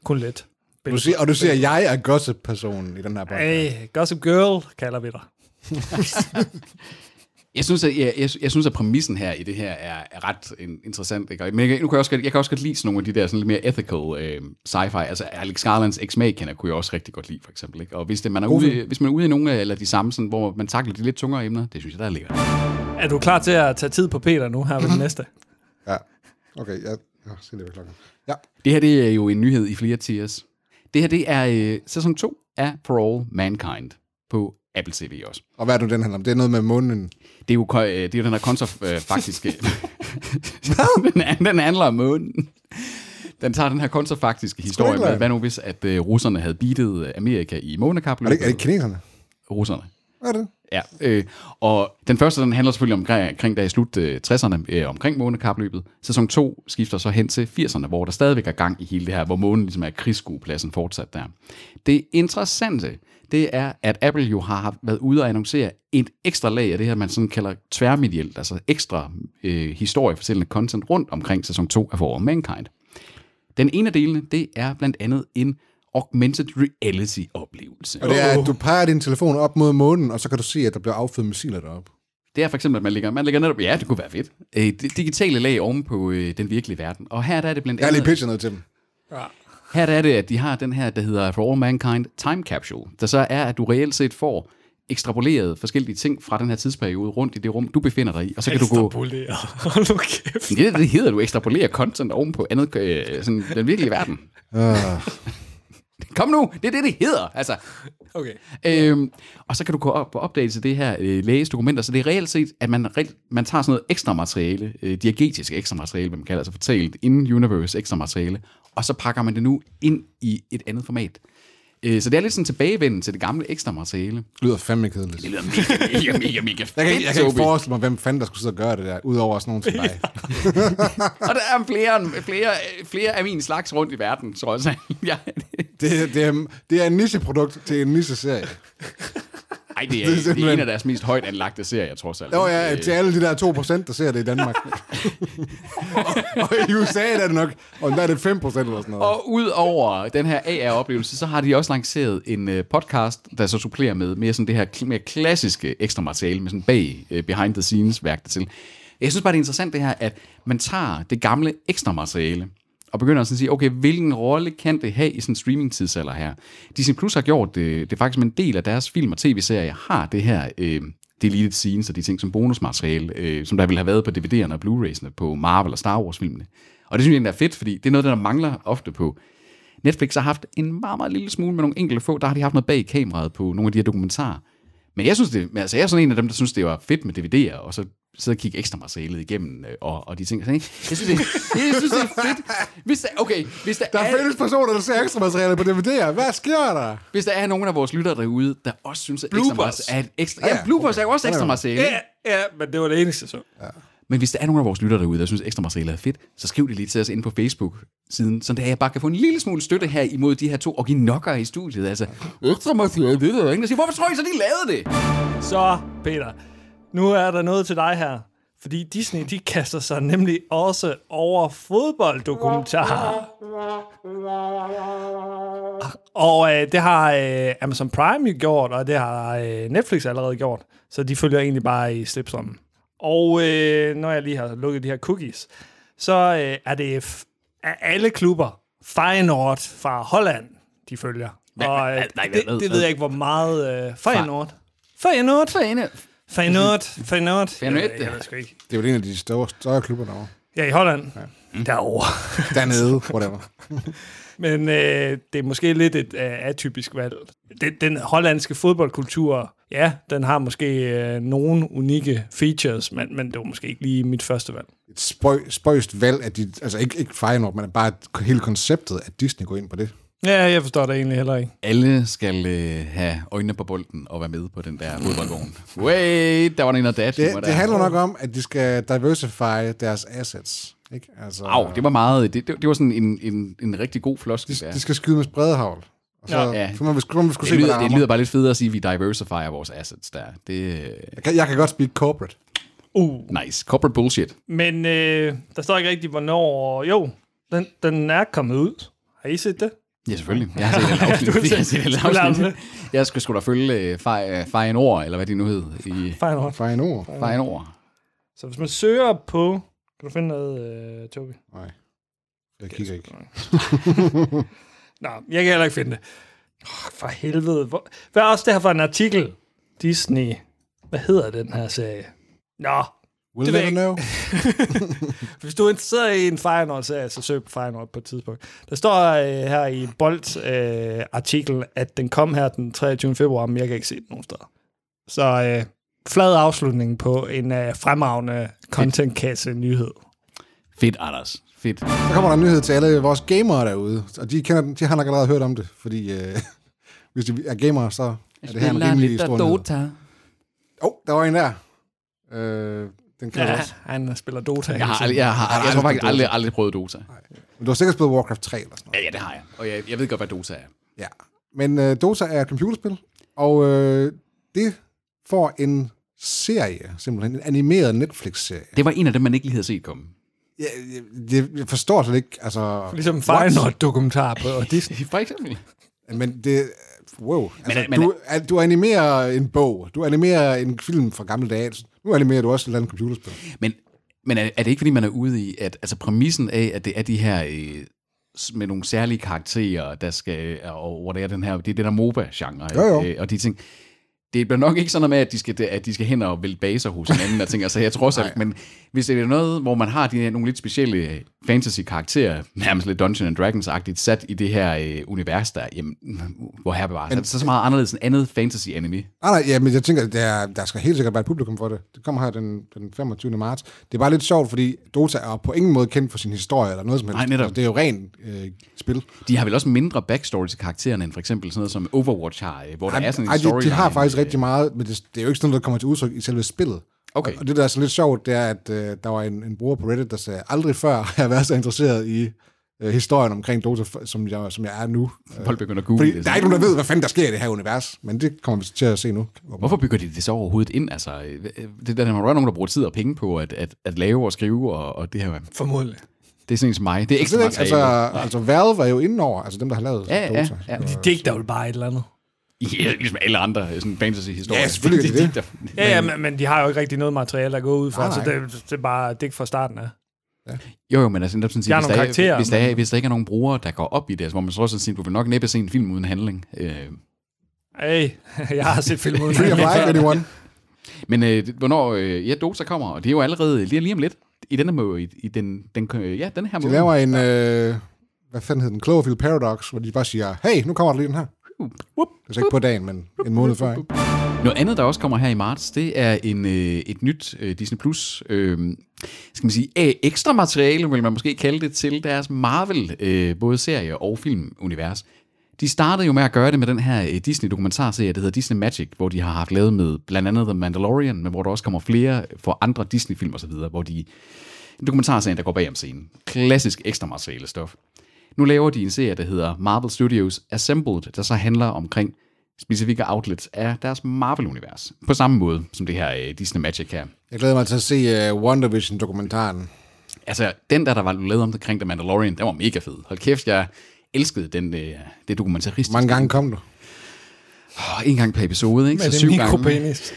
Speaker 1: kun lidt.
Speaker 3: Du siger, og du siger, at jeg er gossip-personen i den her podcast.
Speaker 1: Hey, Gossip Girl kalder vi dig.
Speaker 2: Jeg synes, at, jeg, jeg, jeg synes, at præmissen her i det her er, er ret in, interessant. Ikke? Og- Men jeg, nu kan jeg, også godt, jeg kan også godt lide sådan nogle af de der sådan lidt mere ethical øh, sci-fi. Altså Alex Garlands ex machina kunne jeg også rigtig godt lide, for eksempel. Ikke? Og hvis, det, man er ude, hvis man er ude i nogle af eller de samme, sådan, hvor man takler de lidt tungere emner, det synes jeg, der er lækkert.
Speaker 1: Er du klar til at tage tid på Peter nu her ved den næste?
Speaker 3: Ja. Okay, jeg... Nå, se det ved klokken. Ja.
Speaker 2: Det her det er jo en nyhed i flere tiers. Det her det er øh, sæson 2 af For All Mankind på Apple TV også.
Speaker 3: Og hvad er det, nu, den handler om? Det er noget med månen.
Speaker 2: Det er jo, ko- øh, det er jo den her kontra øh,
Speaker 3: <laughs>
Speaker 2: faktiske... den, an- den handler om månen. Den tager den her kontrafaktiske historie med,
Speaker 3: Spoiler.
Speaker 2: hvad nu hvis, at øh, russerne havde beatet øh, Amerika i
Speaker 3: Er det,
Speaker 2: månekapløbet?
Speaker 3: ikke- er det kineserne?
Speaker 2: Russerne.
Speaker 3: Hvad er det?
Speaker 2: Ja, øh, og den første, den handler selvfølgelig omkring, omkring der i slut øh, 60'erne, øh, omkring månekapløbet. Sæson 2 skifter så hen til 80'erne, hvor der stadigvæk er gang i hele det her, hvor månen ligesom er krigsskuepladsen fortsat der. Det interessante, det er, at Apple jo har haft- været ude og annoncere et ekstra lag af det her, man sådan kalder tværmedielt, altså ekstra øh, historiefortællende content rundt omkring sæson 2 af For All Mankind. Den ene af delene, det er blandt andet en augmented reality-oplevelse.
Speaker 3: Og det er, at du peger din telefon op mod månen, og så kan du se, at der bliver affyret missiler deroppe.
Speaker 2: Det er for eksempel, at man lægger, man lægger netop, ja, det kunne være fedt, øh, det digitale lag oven på øh, den virkelige verden. Og her der er det blandt
Speaker 3: Jeg har lige
Speaker 2: andet,
Speaker 3: pitchet noget til dem.
Speaker 2: her der er det, at de har den her, der hedder For All Mankind Time Capsule, der så er, at du reelt set får ekstrapoleret forskellige ting fra den her tidsperiode rundt i det rum, du befinder dig i, og så kan du gå...
Speaker 1: Ekstrapolere. <laughs> Hold nu kæft.
Speaker 2: Det, det hedder, du ekstrapolerer content oven på andet, øh, sådan, den virkelige verden. <laughs> Kom nu, det er det, det hedder. Altså,
Speaker 1: Okay.
Speaker 2: Øhm, og så kan du gå op på opdagelse af det her, øh, læse dokumenter, så det er reelt set, at man, reelt, man tager sådan noget ekstra materiale, øh, diegetisk ekstra materiale, hvad man kalder altså fortalt in-universe ekstra materiale, og så pakker man det nu ind i et andet format. Øh, så det er lidt sådan tilbagevenden til det gamle ekstra materiale.
Speaker 3: Det lyder fandme kedeligt.
Speaker 2: Det lyder mega, mega, mega, mega fedt,
Speaker 3: Jeg kan, ikke- jeg kan ikke
Speaker 2: Tobi.
Speaker 3: forestille mig, hvem fanden der skulle sidde og gøre det der, udover sådan nogen
Speaker 2: <laughs>
Speaker 3: som dig.
Speaker 2: Og der er flere, flere, flere af min slags rundt i verden, tror jeg. <laughs> Ja,
Speaker 3: Det, det, er, det er en nicheprodukt til en niche-serie.
Speaker 2: Ej, det er,
Speaker 3: Det er
Speaker 2: det er,
Speaker 3: simpelthen-
Speaker 2: en af deres mest højt anlagte serier, trods alt.
Speaker 3: Jo, ja,
Speaker 2: Øh,
Speaker 3: til alle de der 2%, der ser det i
Speaker 2: <laughs>
Speaker 3: Danmark. <laughs> og, og i USA der er det nok, og der er det 5% eller sådan noget.
Speaker 2: Og udover den her AR-oplevelse, så har de også lanceret en øh, podcast, der så supplerer med mere sådan det her kl- mere klassiske ekstra materiale, med sådan bag øh, behind the scenes værk til. Jeg synes bare, det er interessant det her, at man tager det gamle ekstra materiale, og begynder at sådan sige, okay, hvilken rolle kan det have i sådan en streaming-tidsalder her? Disney Plus har gjort det, det er faktisk med en del af deres film- og tv-serier, har det her øh, deleted scenes og de ting som bonusmateriale, øh, som der ville have været på DVD'erne og Blu-rays'ene på Marvel og Star Wars-filmene. Og det synes jeg egentlig er fedt, fordi det er noget, der mangler ofte på. Netflix har haft en meget, meget lille smule med nogle enkelte få, der har de haft noget bag kameraet på nogle af de her dokumentarer. Men jeg synes det, men altså jeg er sådan en af dem, der synes, det var fedt med DVD'er, og så sidde og kigge ekstra materialet igennem, øh, og, og de ting. Sådan, ikke? Jeg, synes, det, jeg synes, det er fedt. Hvis der, okay, hvis der,
Speaker 3: Der
Speaker 2: er,
Speaker 3: findes personer, der ser ekstra materiale på DVD'er. Hvad sker der?
Speaker 2: hvis der er nogen af vores lyttere derude, der også synes, at ekstra
Speaker 1: Bloopers.
Speaker 2: materiale er et ekstra...
Speaker 3: Ja,
Speaker 2: Ja,
Speaker 3: ja,
Speaker 2: bloopers
Speaker 3: okay.
Speaker 2: er jo også
Speaker 3: Ja,
Speaker 2: ekstra
Speaker 3: ja.
Speaker 2: materiale.
Speaker 1: Ja, ja, men det var det eneste så.
Speaker 2: Men hvis der er nogen af vores lyttere derude, der synes, ekstra materiale er fedt, så skriv det lige til os inde på Facebook-siden, så det er, jeg bare kan få en lille smule støtte her imod de her to orginokker i studiet. Altså, ekstra materiale, det er der ingen, der siger, hvorfor tror I så, de lavede det?
Speaker 1: Så, Peter, nu er der noget til dig her. Fordi Disney, de kaster sig nemlig også over fodbolddokumentarer. Og øh, det har øh, Amazon Prime jo gjort, og det har øh, Netflix allerede gjort. Så de følger egentlig bare i slipstrømmen. Og øh, når jeg lige har lukket de her cookies, så øh, er det f- af alle klubber Feyenoord fra Holland, de følger. Og øh,
Speaker 2: hvad- nej, hvad- hvad-
Speaker 1: det, det ved jeg ikke, hvor meget... Øh, Feyenoord. Feyenoord.
Speaker 2: Så ene,
Speaker 1: Feyenoord, Feyenoord.
Speaker 2: Feyenoord,
Speaker 1: Jeg, ved- jeg
Speaker 2: ja.
Speaker 1: ved sgu ikke.
Speaker 3: Det er jo en af de større, større klubber derovre.
Speaker 1: Ja, i Holland. Ja. Derovre.
Speaker 3: Dernede, whatever.
Speaker 1: Men øh, det er måske lidt et øh, atypisk valg. Den, den hollandske fodboldkultur, ja, den har måske øh, nogle unikke features, men, men det var måske ikke lige mit første valg.
Speaker 3: Et spøj, spøjst valg af de, altså ikke, ikke Feyenoord, men bare hele konceptet, at Disney går ind på det.
Speaker 1: Ja, jeg forstår det egentlig heller ikke.
Speaker 2: Alle skal øh, have øjnene på bolden og være med på den der fodboldvogn. Wait, der var en af dat.
Speaker 3: Det, det handler nok om, at de skal diversify deres assets. Ikke? Altså,
Speaker 2: Au, det var meget, det, det, det var sådan en, en, en rigtig god floskel.
Speaker 3: de,
Speaker 2: der.
Speaker 3: de skal skyde med spredhavl. Og så,
Speaker 1: Nå,
Speaker 2: ja.
Speaker 3: ja. så må vi, så må vi skulle se,
Speaker 2: Det
Speaker 3: hvad
Speaker 2: lyder,
Speaker 3: der
Speaker 2: det lyder
Speaker 3: rammer.
Speaker 2: bare lidt federe at sige, at vi diversifier vores assets der. Det er
Speaker 3: Jeg kan, jeg kan godt speak corporate.
Speaker 1: Uh.
Speaker 2: nice. Corporate bullshit.
Speaker 1: Men øh, der står ikke rigtigt, hvornår... Jo, den, den er kommet ud. Har I set det?
Speaker 2: Ja, selvfølgelig. Jeg har set alle afsnit.
Speaker 1: har set-
Speaker 2: Jeg har set alle
Speaker 1: skulle lave
Speaker 2: afsnit. Jeg skulle sgu da følge uh, Feyenoord, eller hvad det nu hed. I
Speaker 1: Fejl ord.
Speaker 3: Fra en ord.
Speaker 2: Feyenoord.
Speaker 1: Så hvis man søger på... Kan du finde noget, øh, Tobi?
Speaker 3: Nej. Jeg kigger ikke.
Speaker 1: Nå, jeg kan heller ikke finde det. Oh, for helvede. Hvor... Hvad er også det her for en artikel? Disney. Hvad hedder den her serie? Nå,
Speaker 3: We'll
Speaker 1: Det ved
Speaker 3: never
Speaker 1: jeg
Speaker 3: know.
Speaker 1: hvis du er interesseret i en Feyenoord-serie, så søg på Feyenoord på et tidspunkt. Der står øh, her i Bolt-artiklen, øh, artikel, at den kom her den 23. februar, men jeg kan ikke se den nogen steder. Så øh, flad afslutning på en øh, fremragende content-kasse-nyhed.
Speaker 2: Fedt, Anders. Fedt.
Speaker 3: Så kommer der en nyhed til alle vores gamere derude, og de, kender, den- de har nok allerede hørt om det, fordi øh, <laughs> hvis de er gamere, så er det her en rimelig stor nyhed. Åh, oh, der var en der. Øh, den kan ja.
Speaker 1: Ja,
Speaker 3: også.
Speaker 1: han spiller Dota.
Speaker 2: Jeg har, aldrig, jeg har, jeg,
Speaker 3: aldrig
Speaker 2: tror faktisk
Speaker 3: spillet
Speaker 2: aldrig, aldrig prøvet Dota.
Speaker 3: Men du har sikkert spillet Warcraft 3 eller sådan noget.
Speaker 2: Ja, ja, det har jeg. Og jeg, jeg ved godt, hvad Dota er.
Speaker 3: Ja. Men øh, Dota er et computerspil, og øh, det får en serie, simpelthen en animeret Netflix-serie.
Speaker 2: Det var en af dem, man ikke lige havde set komme.
Speaker 3: Jeg, jeg, jeg forstår slet ikke, altså...
Speaker 1: Ligesom
Speaker 3: what?
Speaker 1: Feyenoord-dokumentar på Disney.
Speaker 2: For eksempel.
Speaker 3: Men det... Wow. Altså,
Speaker 2: men-
Speaker 3: men, du, al- du animerer en bog, du animerer en film fra gamle dage, Altså, nu animerer du også et eller andet computerspil.
Speaker 2: Men, men er, er det ikke, fordi man er ude i, at altså præmissen af, at det er de her øh, s- med nogle særlige karakterer, der skal, øh, og hvor det er den her, det er den der MOBA-genre, ikke?
Speaker 3: Jo, jo.
Speaker 2: Øh, og de ting, det bliver nok ikke sådan noget med, at de skal, at de skal hen og vælte baser hos hinanden og ting, altså jeg tror selv, men hvis det er noget, hvor man har de her nogle lidt specielle øh, fantasy-karakterer, nærmest lidt Dungeons and Dragons-agtigt, sat i det her øh, univers der, jamen, hvor her bevares, så er det så så meget anderledes end andet fantasy-anime.
Speaker 3: Nej, nej, ja, men jeg tænker, der, der skal helt sikkert være et publikum for det. Det kommer her den, den 25. marts. Det er bare lidt sjovt, fordi Dota er på ingen måde kendt for sin historie eller noget som helst.
Speaker 2: Nej, netop.
Speaker 3: Altså, det er jo rent øh, spil.
Speaker 2: De har vel også mindre backstory til karaktererne, end for eksempel sådan noget som Overwatch har, øh, hvor der er sådan en
Speaker 3: Ej, de, de har
Speaker 2: storyline,
Speaker 3: faktisk
Speaker 2: øh,
Speaker 3: rigtig meget, men det, det er jo ikke sådan noget, der kommer til udtryk i selve spillet.
Speaker 2: Okay.
Speaker 3: Og det, der er så lidt sjovt, det er, at øh, der var en, en bruger på Reddit, der sagde, aldrig før har jeg været så interesseret i øh, historien omkring Dota, f- som jeg, som jeg er nu. Øh,
Speaker 2: Folk begynder at google
Speaker 3: Fordi
Speaker 2: det.
Speaker 3: der er ikke nogen, der ved, hvad fanden der sker i det her univers, men det kommer vi til at se nu. Altså,
Speaker 2: Hvorfor bygger de det så overhovedet ind? Altså, øh, det der, der må være nogen, der bruger tid og penge på at, at, at lave og skrive, og, og det her,
Speaker 1: Formodentlig.
Speaker 2: det er sådan en som mig. Det er
Speaker 3: Jeg
Speaker 2: ekstra
Speaker 3: ved ikke, altså,
Speaker 2: materiale.
Speaker 3: altså Valve er jo indenover, altså dem, der har lavet
Speaker 2: Ja,
Speaker 3: Dota.
Speaker 2: ja, ja.
Speaker 1: De digter jo bare et eller andet.
Speaker 2: ja, ligesom alle andre øh, sådan fantasy-historier.
Speaker 3: Ja, selvfølgelig
Speaker 2: <laughs>
Speaker 3: er det
Speaker 2: der.
Speaker 1: Ja, ja, men, men de har jo ikke rigtig noget materiale at gå ud fra,
Speaker 3: Nej,
Speaker 1: så
Speaker 3: nej.
Speaker 1: det, det er bare digt fra starten af.
Speaker 2: Jo, jo, men altså, netop sådan,
Speaker 1: Jeg
Speaker 2: sige,
Speaker 1: har
Speaker 2: hvis,
Speaker 1: nogle
Speaker 2: der er,
Speaker 1: karakterer,
Speaker 2: hvis, der er, hvis der ikke er nogen brugere, der går op i det, altså, hvor man så også sådan, siger, du vil nok næppe se en film uden handling. Øh,
Speaker 1: Hey, <laughs> jeg har set film
Speaker 2: <laughs>
Speaker 1: uden
Speaker 3: Free of Life, anyone?
Speaker 2: men øh, det- hvornår, øh, ja, Dota kommer, og det er jo allerede lige, lige om lidt. I denne måde, i, i den, den, øh, ja, den her
Speaker 3: De
Speaker 2: måde.
Speaker 3: laver en, øh, hvad fanden hed den, Cloverfield Paradox, hvor de bare siger, hey, nu kommer der lige den her. Det er så ikke på dagen, men en måned før, ikke?
Speaker 2: Noget andet, der også kommer her i marts, det er en, øh, et nyt øh, Disney+, Plus, øh, skal man sige, øh, ekstra materiale, vil man måske kalde det, til deres Marvel, øh, både serie og filmunivers. De startede jo med at gøre det med den her øh, Disney-dokumentarserie, der hedder Disney Magic, hvor de har haft lavet med blandt andet The Mandalorian, men hvor der også kommer flere for andre Disney-film osv., hvor de en dokumentarserie, der går bag om scenen. Klassisk ekstra materiale stof. Nu laver de en serie, der hedder Marvel Studios Assembled, der så handler omkring specifikke outlets af deres Marvel-univers. På samme måde som det her øh, Disney Magic her.
Speaker 3: Jeg glæder mig til at se uh, WandaVision-dokumentaren.
Speaker 2: Altså, den der, der var lavet om omkring The Mandalorian, den var mega fed. Hold kæft, jeg elskede den, øh, det dokumentaristiske.
Speaker 3: Hvor mange gange kom du?
Speaker 2: Åh, en gang per episode, ikke?
Speaker 1: Med
Speaker 2: syv
Speaker 1: det mikropenis.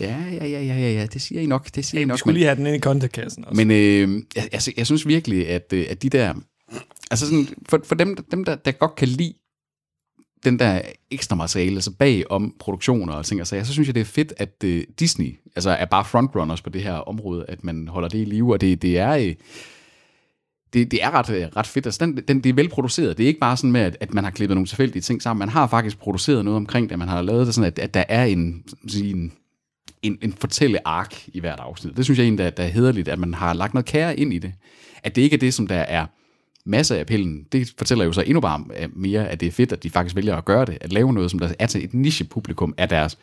Speaker 2: Ja, ja, ja, ja, ja, ja, det siger I nok. Det siger I
Speaker 1: Vi
Speaker 2: nok.
Speaker 1: skulle
Speaker 2: Men,
Speaker 1: lige have den ind i kontakassen også.
Speaker 2: men øh, jeg, altså, jeg synes virkelig, at, øh, at de der... Altså sådan, for, for dem, dem der, der godt kan lide den der ekstra materiale, altså bag om produktioner og ting og sager, så synes jeg, det er fedt, at øh, Disney altså, er bare frontrunners på det her område, at man holder det i live, og det, det er... Øh, det, det er ret, øh, ret fedt. Altså, den, den, det er velproduceret. Det er ikke bare sådan med, at, at man har klippet nogle tilfældige ting sammen. Man har faktisk produceret noget omkring det. Man har lavet det sådan, at, at der er en, sådan at sige, en, en, en fortælleark i hvert afsnit. Det synes jeg egentlig, der, der er hederligt, at man har lagt noget kære ind i det. At det ikke er det, som der er masser af pillen, det fortæller jo så endnu bare øh, mere, at det er fedt, at de faktisk vælger at gøre det. At lave noget, som der er til et niche-publikum af deres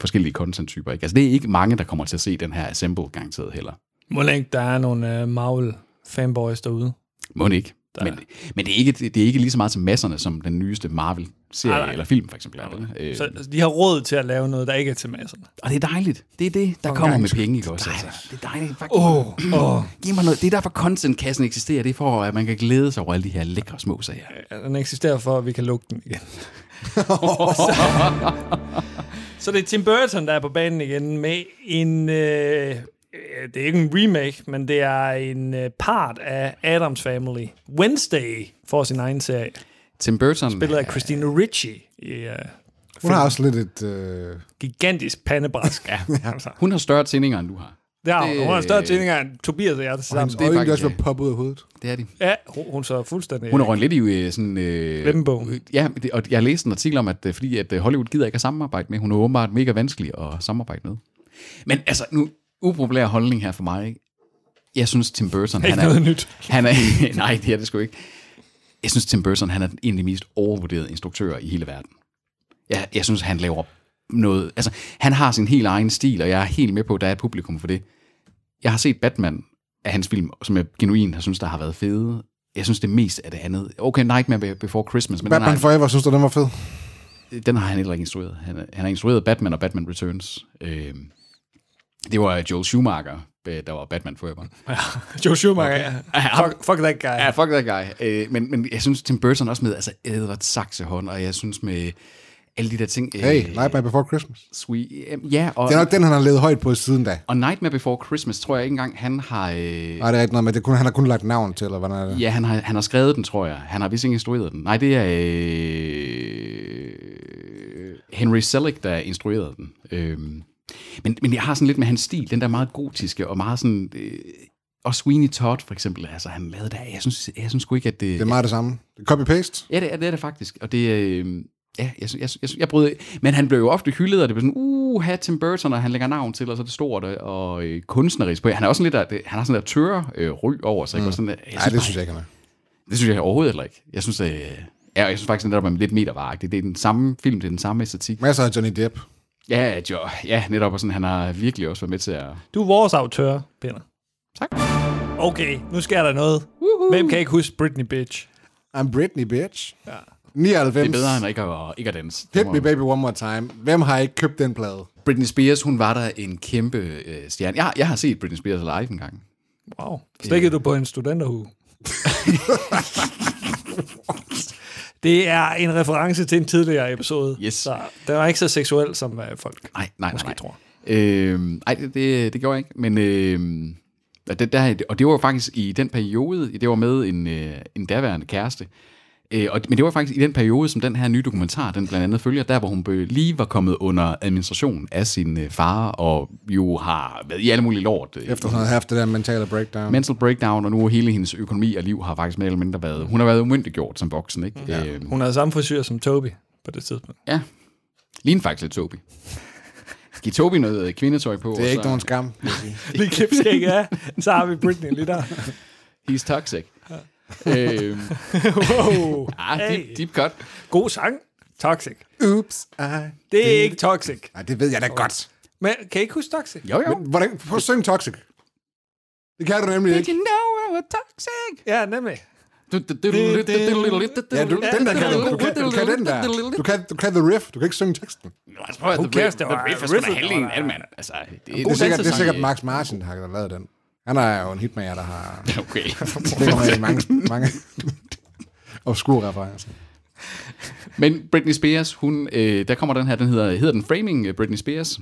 Speaker 2: forskellige content-typer. Ikke? Altså, det er ikke mange, der kommer til at se den her assemble garanteret heller.
Speaker 1: Må ikke der er nogle uh, Marvel fanboys øh, derude.
Speaker 2: Må det ikke.
Speaker 1: Der-
Speaker 2: Men, men det, er ikke, det er ikke lige så meget til masserne, som den nyeste Marvel-serie
Speaker 1: Nej, nej.
Speaker 2: eller film, for eksempel. er, vel? Øh,
Speaker 1: Så altså, de har råd til at lave noget, der ikke er til masserne.
Speaker 2: og det er dejligt. Det er det, der kommer med penge, ikke også? Altså. Det er dejligt. Fuck, oh, oh. Giv mig noget. Det er derfor, contentkassen eksisterer. Det er for, at man kan glæde sig over alle de her lækre små sager.
Speaker 1: Den eksisterer for, at vi kan lukke den igen. så, <laughs> så det er Tim Burton, der er på banen igen med en... Øh, øh, det er ikke en remake, men det er en øh, part af Adams Family. Wednesday får sin egen serie.
Speaker 2: Tim Burton...
Speaker 1: Spillet af Christina Ricci i øh,
Speaker 3: Hun har også lidt et... Øh,
Speaker 1: gigantisk pandebræsk. ja, <laughs> altså.
Speaker 2: Hun har større tændinger, end du har.
Speaker 1: Der,
Speaker 2: Det-
Speaker 1: hun har større tændinger end Tobias og jeg til sammen.
Speaker 3: hans
Speaker 2: det er
Speaker 3: øjne bliver
Speaker 2: faktisk-
Speaker 3: også blevet poppet ud af hovedet.
Speaker 2: Det er de.
Speaker 1: Ja, hun hun så fuldstændig...
Speaker 2: Hun har røget lidt i øh, sådan... Øh,
Speaker 1: Glemmebogen.
Speaker 2: øh, Ja, det- og jeg har læst en artikel om, at øh, fordi at øh, Hollywood gider ikke at samarbejde med, hun er åbenbart mega vanskelig at samarbejde med. Men altså, nu upopulær holdning her for mig. Ikke? Jeg synes, Tim Burton...
Speaker 1: Ikke noget nyt.
Speaker 2: Han er, <laughs> nej, det er det sgu ikke. Jeg synes, Tim Burton han er den egentlig mest overvurderede instruktør i hele verden. Jeg, jeg synes, han laver noget... Altså, han har sin helt egen stil, og jeg er helt med på, at der er et publikum for det. Jeg har set Batman af hans film, som jeg genuint har synes, der har været fede. Jeg synes, det meste af det andet... Okay, Nightmare Before Christmas, men den
Speaker 3: Batman
Speaker 2: har,
Speaker 3: Forever, synes du, den var fed?
Speaker 2: den har han heller ikke instrueret. Han, han har instrueret Batman og Batman Returns. Øh, det var Joel Schumacher, øh, der var Batman Forever.
Speaker 1: Joe Schumacher. Okay. Fuck, fuck that guy.
Speaker 2: Ja, fuck that guy. Øh, men, men jeg synes, Tim Burton også med, altså Edward Saxehånd, og jeg synes med alle de der ting. Øh,
Speaker 3: Hey, Nightmare Before Christmas.
Speaker 2: Sweet, øh, ja, og,
Speaker 3: Det er nok den, han har levet højt på siden da.
Speaker 2: og Nightmare Before Christmas, tror jeg ikke engang, han har... Øh,
Speaker 3: Nej, det er ikke noget med, det kun, han har kun lagt navn til, eller hvordan er det?
Speaker 2: ja, han har, han har skrevet den, tror jeg. Han har vist ikke instrueret den. Nej, det er øh, Henry Selick, der instruerede den. Øh, men, men jeg har sådan lidt med hans stil, den der meget gotiske, og meget sådan... Øh, og Sweeney Todd, for eksempel, altså han lavede der, jeg synes, jeg synes sgu ikke, at det...
Speaker 3: Det er meget det samme. Det er Copy-paste.
Speaker 2: Ja, det er det, er det faktisk. Og det, øh, ja, jeg, sy- jeg, sy- jeg, sy- jeg brød, men han blev jo ofte hyldet, og det blev sådan, uh, Tim Burton, og han lægger navn til, og så er det stort og, og øh, kunstnerisk på. Han er også sådan lidt, af, det- han har sådan lidt tørre øh, ry over sig. Mm. Sådan, jeg
Speaker 3: Nej, det synes jeg ikke, han er.
Speaker 2: bare- det synes jeg overhovedet heller ikke. Jeg synes, øh, ja, jeg synes faktisk, netop, at man er lidt metervaragtig. Det er den samme film, det er den samme æstetik.
Speaker 3: Masser af Johnny Depp.
Speaker 2: Ja, jo, ja netop, og sådan, han har virkelig også været med til at...
Speaker 1: Du er vores autør, Peter.
Speaker 2: Tak.
Speaker 1: Okay, nu sker der noget. Woohoo. Hvem kan ikke huske Britney Bitch?
Speaker 3: I'm Britney, bitch. Ja. 99.
Speaker 2: Det er bedre end ikke at, ikke at danse. Det
Speaker 3: Hit
Speaker 2: må
Speaker 3: me
Speaker 2: man-
Speaker 3: baby one more time. Hvem har ikke købt den plade?
Speaker 2: Britney Spears, hun var der en kæmpe øh, stjerne. Jeg, jeg har set Britney Spears live en gang.
Speaker 1: Wow. Stikkede du på en studenterhue? <laughs> det er en reference til en tidligere episode.
Speaker 2: Yes.
Speaker 1: Så den er ikke så seksuel som øh, folk.
Speaker 2: Nej, nej,
Speaker 1: Måske
Speaker 2: nej.
Speaker 1: tror.
Speaker 2: Øhm, nej, det, det, det gjorde jeg ikke. Men, øhm, og det, der, og det var jo faktisk i den periode, det var med en, øh, en daværende kæreste. Øh, og, men det var faktisk i den periode, som den her nye dokumentar, den blandt andet følger, der hvor hun be- lige var kommet under administration af sin øh, far, og jo har været i alle mulige lort. Øh,
Speaker 3: Efter hun havde haft det der mentale breakdown.
Speaker 2: mental breakdown, og nu er hele hendes økonomi og liv har faktisk mere eller mindre været, hun har været umyndiggjort som voksen, ikke? Ja. Øhm,
Speaker 1: Hun havde samme frisyr som Toby på det tidspunkt.
Speaker 2: ja. Ligner faktisk lidt Tobi. Giv Tobi noget øh, kvindetøj på.
Speaker 3: det er ikke nogen
Speaker 2: <laughs>
Speaker 3: skam. vil jeg sige.
Speaker 1: Lige klip skal ikke af, så har vi Britney lige der.
Speaker 2: He's toxic. øhm,
Speaker 1: Wow.
Speaker 2: ah,
Speaker 1: Hey.
Speaker 2: deep, deep cut.
Speaker 1: God sang. Toxic.
Speaker 3: Oops, I...
Speaker 1: Det er ikke toxic.
Speaker 3: Nej, det ved jeg da godt.
Speaker 1: Men kan I ikke huske toxic?
Speaker 2: Jo, jo.
Speaker 3: Men hvordan, prøv at synge Toxic. Det kan du nemlig ikke.
Speaker 2: you know I was toxic?
Speaker 1: Ja, nemlig.
Speaker 3: Ja, du, den der kan du. Du kan, du kan den der. Du kan, du kan the riff. Du kan ikke synge teksten.
Speaker 2: Who
Speaker 1: cares, det
Speaker 2: The
Speaker 1: var-
Speaker 2: riff er sgu da
Speaker 1: riffet,
Speaker 2: halvdelen af
Speaker 1: der
Speaker 2: det,
Speaker 1: var-
Speaker 2: mand. Altså, det,
Speaker 3: Det er sikkert, det er
Speaker 2: dansesang,
Speaker 3: sikkert
Speaker 2: øh,
Speaker 3: Max Martin, der har lavet den. Han er jo en hitmager, der har <laughs>
Speaker 2: Okay.
Speaker 3: problemer med mange, <laughs> mange obskure referencer.
Speaker 2: Men Britney Spears, hun, øh, der kommer den her, den hedder, hedder den Framing øh, Britney Spears.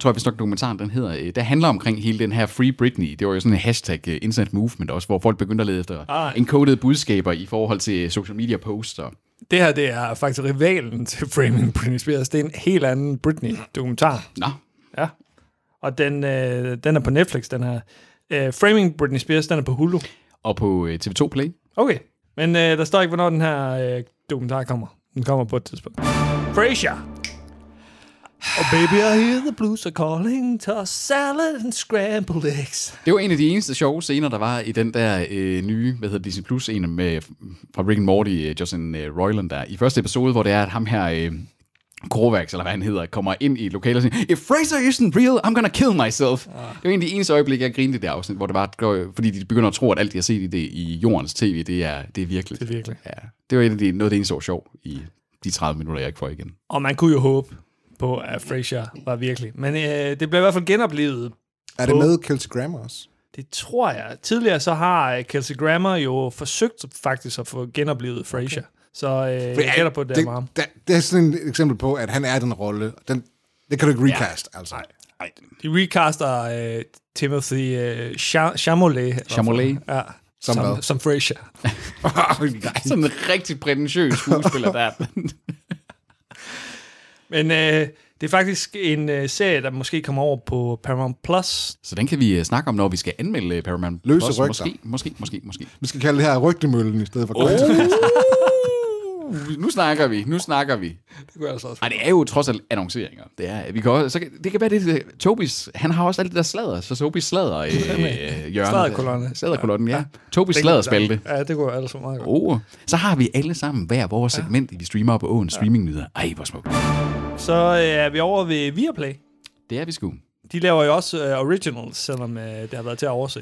Speaker 2: Tror jeg vist nok dokumentaren, den hedder. Øh, der handler omkring hele den her Free Britney. Det var jo sådan en hashtag øh, internet movement også, hvor folk begyndte at lede efter ah. encodede budskaber i forhold til social media posts og
Speaker 1: Det her, det er faktisk rivalen til Framing Britney Spears. Det er en helt anden Britney-dokumentar.
Speaker 2: Nå,
Speaker 1: Ja. Og den, øh, den er på Netflix, den her. Øh, Framing Britney Spears, den er på Hulu.
Speaker 2: og på øh, TV2 Play.
Speaker 1: Okay. Men øh, der står ikke, hvornår den her øh, dokumentar kommer. Den kommer på et tidspunkt. Frasier. Oh baby, I hear the blues are calling. Toss salad and scrambled eggs.
Speaker 2: Det var en af de eneste sjove scener, der var i den der øh, nye, hvad hedder det, Disney Plus, en med, fra Rick and Morty, øh, Justin øh, Roiland der, i første episode, hvor det er, at ham her, øh, Kovacs, eller hvad han hedder, kommer ind i lokalet og siger, If Fraser isn't real, I'm gonna kill myself. Det
Speaker 1: Ah.
Speaker 2: var egentlig det eneste øjeblik, jeg grinede i det afsnit, hvor det var, fordi de begynder at tro, at alt, de har set i, det, i jordens tv, det er, det er virkeligt.
Speaker 1: Det er virkeligt.
Speaker 2: Ja, det var en af de, noget af det eneste, der var sjov i de 30 minutter, jeg ikke får igen.
Speaker 1: Og man kunne jo håbe på, at Frasier var virkelig. Men øh, det blev i hvert fald genoplevet.
Speaker 3: Er det med Kelsey Grammer også?
Speaker 1: Det tror jeg. Tidligere så har øh, Kelsey Grammer jo forsøgt faktisk at få genoplevet Frasier. Okay. Så øh, jeg gætter på, at det, er varm.
Speaker 3: det, det er sådan et eksempel på, at han er den rolle. Den, det kan du ikke recast, ja. altså.
Speaker 1: <laughs>
Speaker 2: Ej,
Speaker 1: De recaster øh, Timothy øh, Cha- Chamolet.
Speaker 2: Chamolet.
Speaker 1: Ja.
Speaker 3: Som
Speaker 1: som,
Speaker 3: hvad?
Speaker 1: som Frasier.
Speaker 2: sådan en rigtig prætentiøs skuespiller der.
Speaker 1: Men øh, det er faktisk en øh, serie, der måske kommer over på Paramount+. Plus.
Speaker 2: Så den kan vi øh, snakke om, når vi skal anmelde øh, Paramount
Speaker 3: Løse
Speaker 2: Plus.
Speaker 3: rygter.
Speaker 2: Måske, måske, måske, måske.
Speaker 3: Vi skal kalde det her rygtemøllen i stedet for oh.
Speaker 2: Uh, nu snakker vi, nu snakker vi.
Speaker 1: Det kunne jeg altså også.
Speaker 2: Ej, det er jo trods alt annonceringer. Det er, vi kan også, så kan, det kan være det, det, Tobis, han har også alt det der sladder, så Tobis sladder
Speaker 3: <laughs>
Speaker 2: øh, hjørne.
Speaker 1: Sladderkolonne.
Speaker 2: Sladderkolonne, ja. Tobis
Speaker 1: Det kunne-
Speaker 2: sladderspalte.
Speaker 1: Ja, det kunne jeg altså meget godt.
Speaker 2: Oh, så har vi alle sammen hver vores segment, vi streamer på åen streamingnyheder. Ej, hvor smukt.
Speaker 1: Så øh, er vi over ved Viaplay.
Speaker 2: Det er vi sgu.
Speaker 1: De laver jo også øh, originals, selvom øh, det har været til at overse.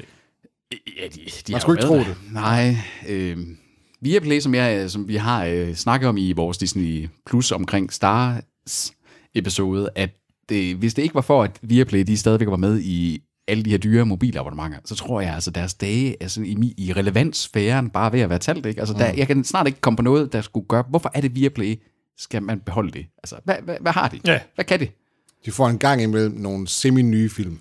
Speaker 2: Ja, de, de
Speaker 3: Man skulle
Speaker 2: jo været
Speaker 3: ikke tro
Speaker 2: der. Nej. Øh, Viaplay, som, jeg, som vi har øh, snakket om i vores Disney Plus omkring Stars episode, at det, hvis det ikke var for, at Viaplay de stadigvæk var med i alle de her dyre mobilabonnementer, så tror jeg altså, deres dage er sådan i, mi- i relevanssfæren bare ved at være talt. Ikke? Altså, der, jeg kan snart ikke komme på noget, der skulle gøre, hvorfor er det Viaplay, skal man beholde det? Altså, hvad, hvad, hvad har de?
Speaker 1: Ja.
Speaker 2: Hvad kan det?
Speaker 3: De får en gang imellem nogle semi-nye film.